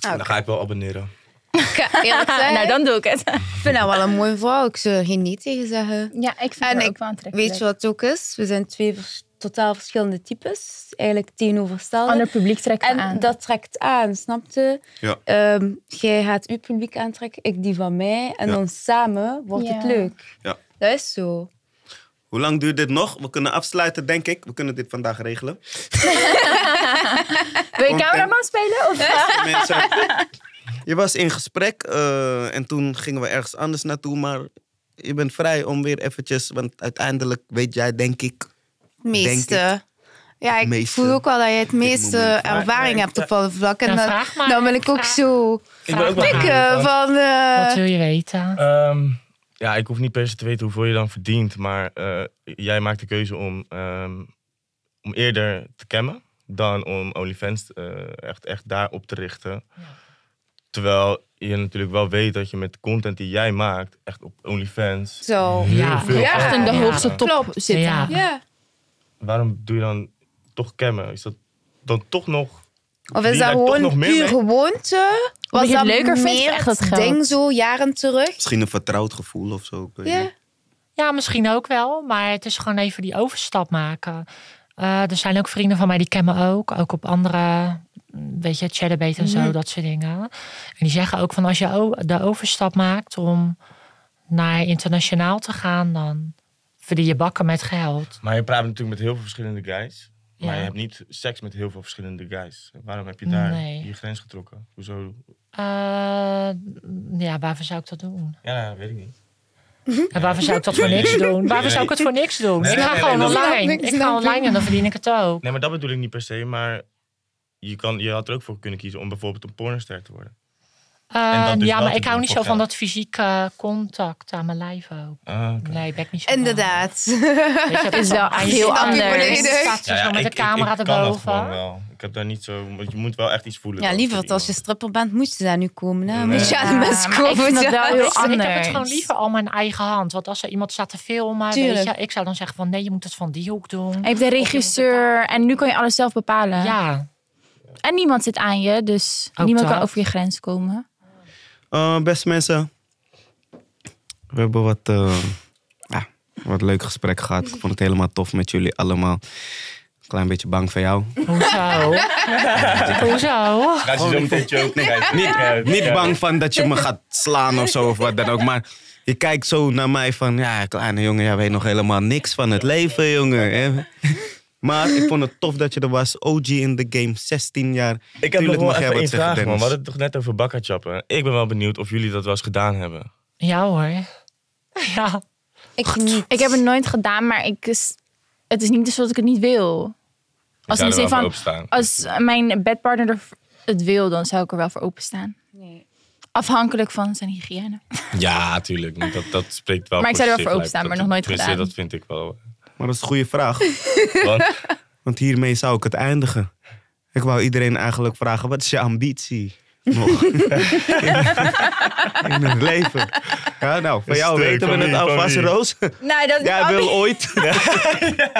Speaker 4: Ah,
Speaker 5: Dan ga ik wel abonneren.
Speaker 3: Ik ga eerlijk zijn,
Speaker 4: nou, dan doe ik het.
Speaker 3: ik vind haar wel een mooie vrouw. Ik zou er geen niet tegen zeggen.
Speaker 4: Ja, ik vind
Speaker 3: En
Speaker 4: het
Speaker 3: ik-
Speaker 4: ook wel aantrekkelijk.
Speaker 3: Weet je wat het ook is? We zijn twee vers- totaal verschillende types. Eigenlijk tegenovergestelde.
Speaker 4: Ander publiek trekken
Speaker 3: En
Speaker 4: aan.
Speaker 3: dat trekt aan, snapte? Ehm,
Speaker 2: Ja.
Speaker 3: jij gaat uw publiek aantrekken, ik die van mij. En
Speaker 2: Ja.
Speaker 3: dan samen wordt
Speaker 4: Ja.
Speaker 3: het leuk.
Speaker 2: Ja.
Speaker 3: Dat is zo.
Speaker 2: Hoe lang duurt dit nog? We kunnen afsluiten, denk ik. We kunnen dit vandaag regelen.
Speaker 4: Wil je
Speaker 2: Content.
Speaker 4: cameraman spelen? Of?
Speaker 2: Mensen, je was in gesprek eh, en toen gingen we ergens anders naartoe. Maar je bent vrij om weer eventjes... Want uiteindelijk weet jij, denk ik... Denk
Speaker 3: Meeste. Ja, ik
Speaker 2: Meeste.
Speaker 3: voel ook wel dat jij het meeste
Speaker 2: moment.
Speaker 3: ervaring hebt op alle vlakken. En
Speaker 1: Nou,
Speaker 3: dan,
Speaker 1: vraag maar.
Speaker 3: dan wil ik ook
Speaker 1: Vraag.
Speaker 3: zo
Speaker 5: Ik ben ook wel benieuwd,
Speaker 3: pikken
Speaker 5: want,
Speaker 3: van... eh,
Speaker 1: Wat wil je weten?
Speaker 5: ehm, ja, ik hoef niet per se te weten hoeveel je dan verdient. Maar eh, jij maakt de keuze om, ehm, om eerder te cammen dan om OnlyFans eh, echt, echt daar op te richten. Terwijl je natuurlijk wel weet dat je met de content die jij maakt, echt op OnlyFans...
Speaker 3: zo.
Speaker 1: Ja.
Speaker 5: veel
Speaker 3: Ja.
Speaker 4: Echt in de
Speaker 5: geld-
Speaker 1: Ja.
Speaker 4: hoogste top
Speaker 3: Klopt.
Speaker 4: zitten.
Speaker 1: Ja.
Speaker 3: Ja.
Speaker 5: Waarom doe je dan toch cammen? Is dat dan toch nog...
Speaker 3: Of
Speaker 5: verdien
Speaker 3: is
Speaker 5: je
Speaker 3: dat
Speaker 5: daar toch nog
Speaker 3: gewoon
Speaker 5: meer
Speaker 3: puur
Speaker 5: mee?
Speaker 3: gewoonte? Was
Speaker 4: je het
Speaker 3: dat
Speaker 4: leuker vindt of
Speaker 3: meer
Speaker 4: echt dat
Speaker 3: het
Speaker 4: geld?
Speaker 3: ding zo jaren terug?
Speaker 2: Misschien een vertrouwd gevoel of zo. ik weet
Speaker 3: Ja.
Speaker 2: niet.
Speaker 1: Ja, misschien ook wel. Maar het is gewoon even die overstap maken. Eh, er zijn ook vrienden van mij die kennen me ook. Ook op andere, mm, weet je, chatterbait en zo,
Speaker 5: Mhm.
Speaker 1: dat soort dingen. En die zeggen ook van als je o- de overstap maakt om naar internationaal te gaan, dan verdien je bakken met geld.
Speaker 5: Maar je praat natuurlijk met heel veel verschillende guys. Maar
Speaker 1: Ja.
Speaker 5: je hebt niet seks met heel veel verschillende guys. Waarom heb je daar
Speaker 1: Nee.
Speaker 5: je grens getrokken? Hoezo?
Speaker 1: Eh, ja, waarvoor zou ik dat doen?
Speaker 5: Ja, nou, weet ik niet.
Speaker 1: En waarvoor zou ik dat voor niks doen? Waarvoor zou ik het voor niks doen?
Speaker 5: Nee,
Speaker 1: Ik ga
Speaker 5: nee,
Speaker 1: gewoon
Speaker 5: nee,
Speaker 3: dat-
Speaker 1: online.
Speaker 3: Niks
Speaker 1: Ik ga
Speaker 3: dan
Speaker 1: online
Speaker 3: doen.
Speaker 1: en dan verdien ik het ook.
Speaker 5: Nee, maar dat bedoel ik niet per se. Maar je, kan, je had er ook voor kunnen kiezen om bijvoorbeeld een pornoster te worden.
Speaker 1: Eh,
Speaker 5: En dat dus
Speaker 1: ja,
Speaker 5: wel
Speaker 1: maar
Speaker 5: te
Speaker 1: ik hou
Speaker 5: doen
Speaker 1: niet
Speaker 5: voor
Speaker 1: zo van
Speaker 5: geld.
Speaker 1: dat fysieke contact aan mijn lijf ook.
Speaker 5: Ah, oké.
Speaker 1: Nee, ben ik niet zo van.
Speaker 3: Inderdaad.
Speaker 1: Weet je, dat
Speaker 4: Is wel echt
Speaker 1: aan je
Speaker 4: heel
Speaker 1: staat-
Speaker 3: anders.
Speaker 1: je staat
Speaker 5: Ja,
Speaker 1: zo
Speaker 5: ja,
Speaker 1: met
Speaker 5: ik-
Speaker 1: de camera
Speaker 5: ik, ik kan dat gewoon
Speaker 1: erboven.
Speaker 5: wel. Ik heb daar niet zo... Want je moet wel echt iets voelen.
Speaker 3: Ja,
Speaker 5: dan
Speaker 3: liever
Speaker 5: voor
Speaker 3: dat als je
Speaker 5: iemand.
Speaker 3: stripper bent, moet je daar nu komen. Hè?
Speaker 5: Nee.
Speaker 3: Moet je aan de
Speaker 4: Ja,
Speaker 3: mensen
Speaker 4: maar ik
Speaker 3: komen.
Speaker 4: vind dat wel
Speaker 5: eh,
Speaker 4: heel
Speaker 1: Weet je, Ik heb het
Speaker 4: anders.
Speaker 1: gewoon liever allemaal in eigen hand. Want als er iemand staat te filmen, weet
Speaker 3: Tuurlijk.
Speaker 1: je, ik zou dan zeggen van nee, je moet het van die hoek doen.
Speaker 4: Hij heeft een regisseur en nu kan je alles zelf bepalen.
Speaker 1: Ja,
Speaker 4: En niemand zit aan je, dus
Speaker 1: Ook
Speaker 4: niemand
Speaker 1: dat.
Speaker 4: kan over je grens komen.
Speaker 2: Eh, beste mensen, we hebben wat, eh, ja, wat leuk gesprek gehad. Ik vond het helemaal tof met jullie allemaal. Klein beetje bang voor jou.
Speaker 1: hoezo? hoezo?
Speaker 5: Laat je zo meteen joke krijgen.
Speaker 2: Niet, niet bang van dat je me gaat slaan of zo of wat dan ook. Maar je kijkt zo naar mij van, ja, kleine jongen, jij weet nog helemaal niks van het leven, jongen. hè. Maar ik vond het tof dat je er was. OG in de game, 16 jaar.
Speaker 5: Ik heb
Speaker 2: Tuurlijk
Speaker 5: nog
Speaker 2: mag jij
Speaker 5: wel even
Speaker 2: wat
Speaker 5: één
Speaker 2: zeggen,
Speaker 5: vraag, man.
Speaker 2: Dennis.
Speaker 5: We hadden het toch net over bakkerchappen. Ik ben wel benieuwd of jullie dat wel eens gedaan hebben.
Speaker 1: Ja hoor. Ja.
Speaker 3: Ik niet.
Speaker 4: Ik heb het nooit gedaan, maar ik is, het is niet dus dat ik het niet wil. Als in de zin van,
Speaker 5: opstaan.
Speaker 4: als mijn bedpartner er het wil, dan zou ik er wel voor openstaan. Afhankelijk van zijn hygiëne.
Speaker 5: Ja, tuurlijk. want Dat, dat spreekt wel
Speaker 4: Maar ik
Speaker 5: voor
Speaker 4: zou er wel voor
Speaker 5: zich, lijkt
Speaker 4: openstaan,
Speaker 5: dat.
Speaker 4: maar nog nooit
Speaker 5: Tenminste,
Speaker 4: gedaan.
Speaker 5: dat vind ik wel.
Speaker 2: Maar dat is een goede vraag.
Speaker 5: Want,
Speaker 2: Want hiermee zou ik het eindigen. Ik wou iedereen eigenlijk vragen, wat is je ambitie? Nog. in, in het leven. Ja, nou, van
Speaker 5: Is
Speaker 2: jou
Speaker 5: leuk,
Speaker 2: weten we
Speaker 5: van
Speaker 2: het
Speaker 5: wie, van
Speaker 2: alvast,
Speaker 5: wie?
Speaker 2: Roos.
Speaker 3: Nou,
Speaker 4: Nee, dat
Speaker 2: Jij wil ooit,
Speaker 5: ja,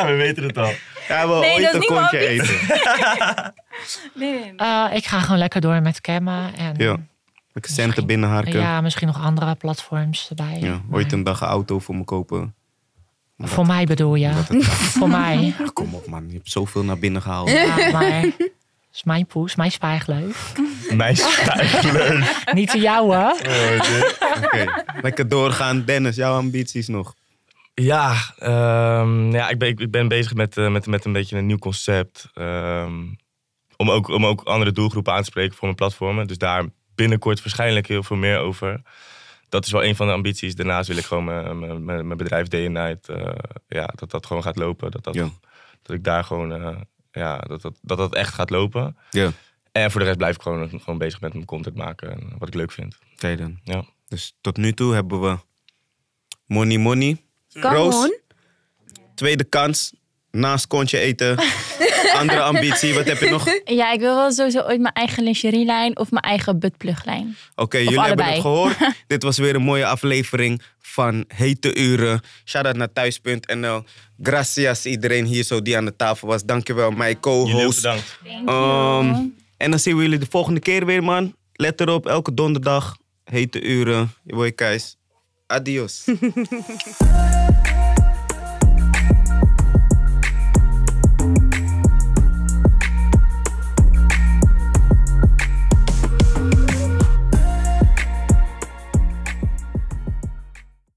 Speaker 5: we weten het al.
Speaker 2: jij wil
Speaker 4: Nee,
Speaker 2: ooit
Speaker 4: dat is
Speaker 2: een
Speaker 4: niet mijn
Speaker 2: kontje eten.
Speaker 1: Eh, ik ga gewoon lekker door met cammen. En
Speaker 2: Ja. Ik centen binnenharken.
Speaker 1: ja, misschien nog andere platforms erbij.
Speaker 2: Ja, ooit een dag een auto voor me kopen.
Speaker 1: Voor mij bedoel je.
Speaker 2: Dat het-
Speaker 1: Voor mij.
Speaker 2: Ach, kom op man, je hebt zoveel naar binnen gehaald.
Speaker 1: Ja, maar het is mijn poes, mijn spijgleuf.
Speaker 5: Meisje.
Speaker 1: Niet de jouwe.
Speaker 2: Oké, Lekker doorgaan. Dennis, jouw ambities nog.
Speaker 5: Ja, ehm, ja ik, ben, ik ben bezig met, eh, met, met een beetje een nieuw concept. ehm, om, ook, om ook andere doelgroepen aan te spreken voor mijn platformen. Dus daar binnenkort waarschijnlijk heel veel meer over. Dat is wel een van de ambities. Daarnaast wil ik gewoon mijn, mijn, mijn mijn bedrijf Day and Night... eh, ja, dat dat gewoon gaat lopen. Dat, dat,
Speaker 2: Ja.
Speaker 5: dat ik daar gewoon... eh, ja, dat dat, dat dat echt gaat lopen.
Speaker 2: Ja.
Speaker 5: En voor de rest blijf ik gewoon, gewoon bezig met mijn content maken. En wat ik leuk vind.
Speaker 2: Oké dan.
Speaker 5: Ja.
Speaker 2: Dus tot nu toe hebben we Money Money. Roos, tweede kans. Naast kontje eten. Andere ambitie. Wat heb je nog? Oké,
Speaker 4: Ja, ik wil wel sowieso ooit mijn eigen lingerielijn of mijn eigen buttpluglijn.
Speaker 2: jullie hebben het
Speaker 4: allebei.
Speaker 2: gehoord. Dit was weer een mooie aflevering van Hete Uren. Shout-out naar thuis.nl. Gracias iedereen hier zo die aan de tafel was. Dankjewel, mijn
Speaker 5: Jullie ook
Speaker 2: co-host.
Speaker 5: bedankt.
Speaker 2: Ehm, en dan zien we jullie de volgende keer weer, man. Let erop, elke donderdag. Hete Uren. Je boy Keis. Adios.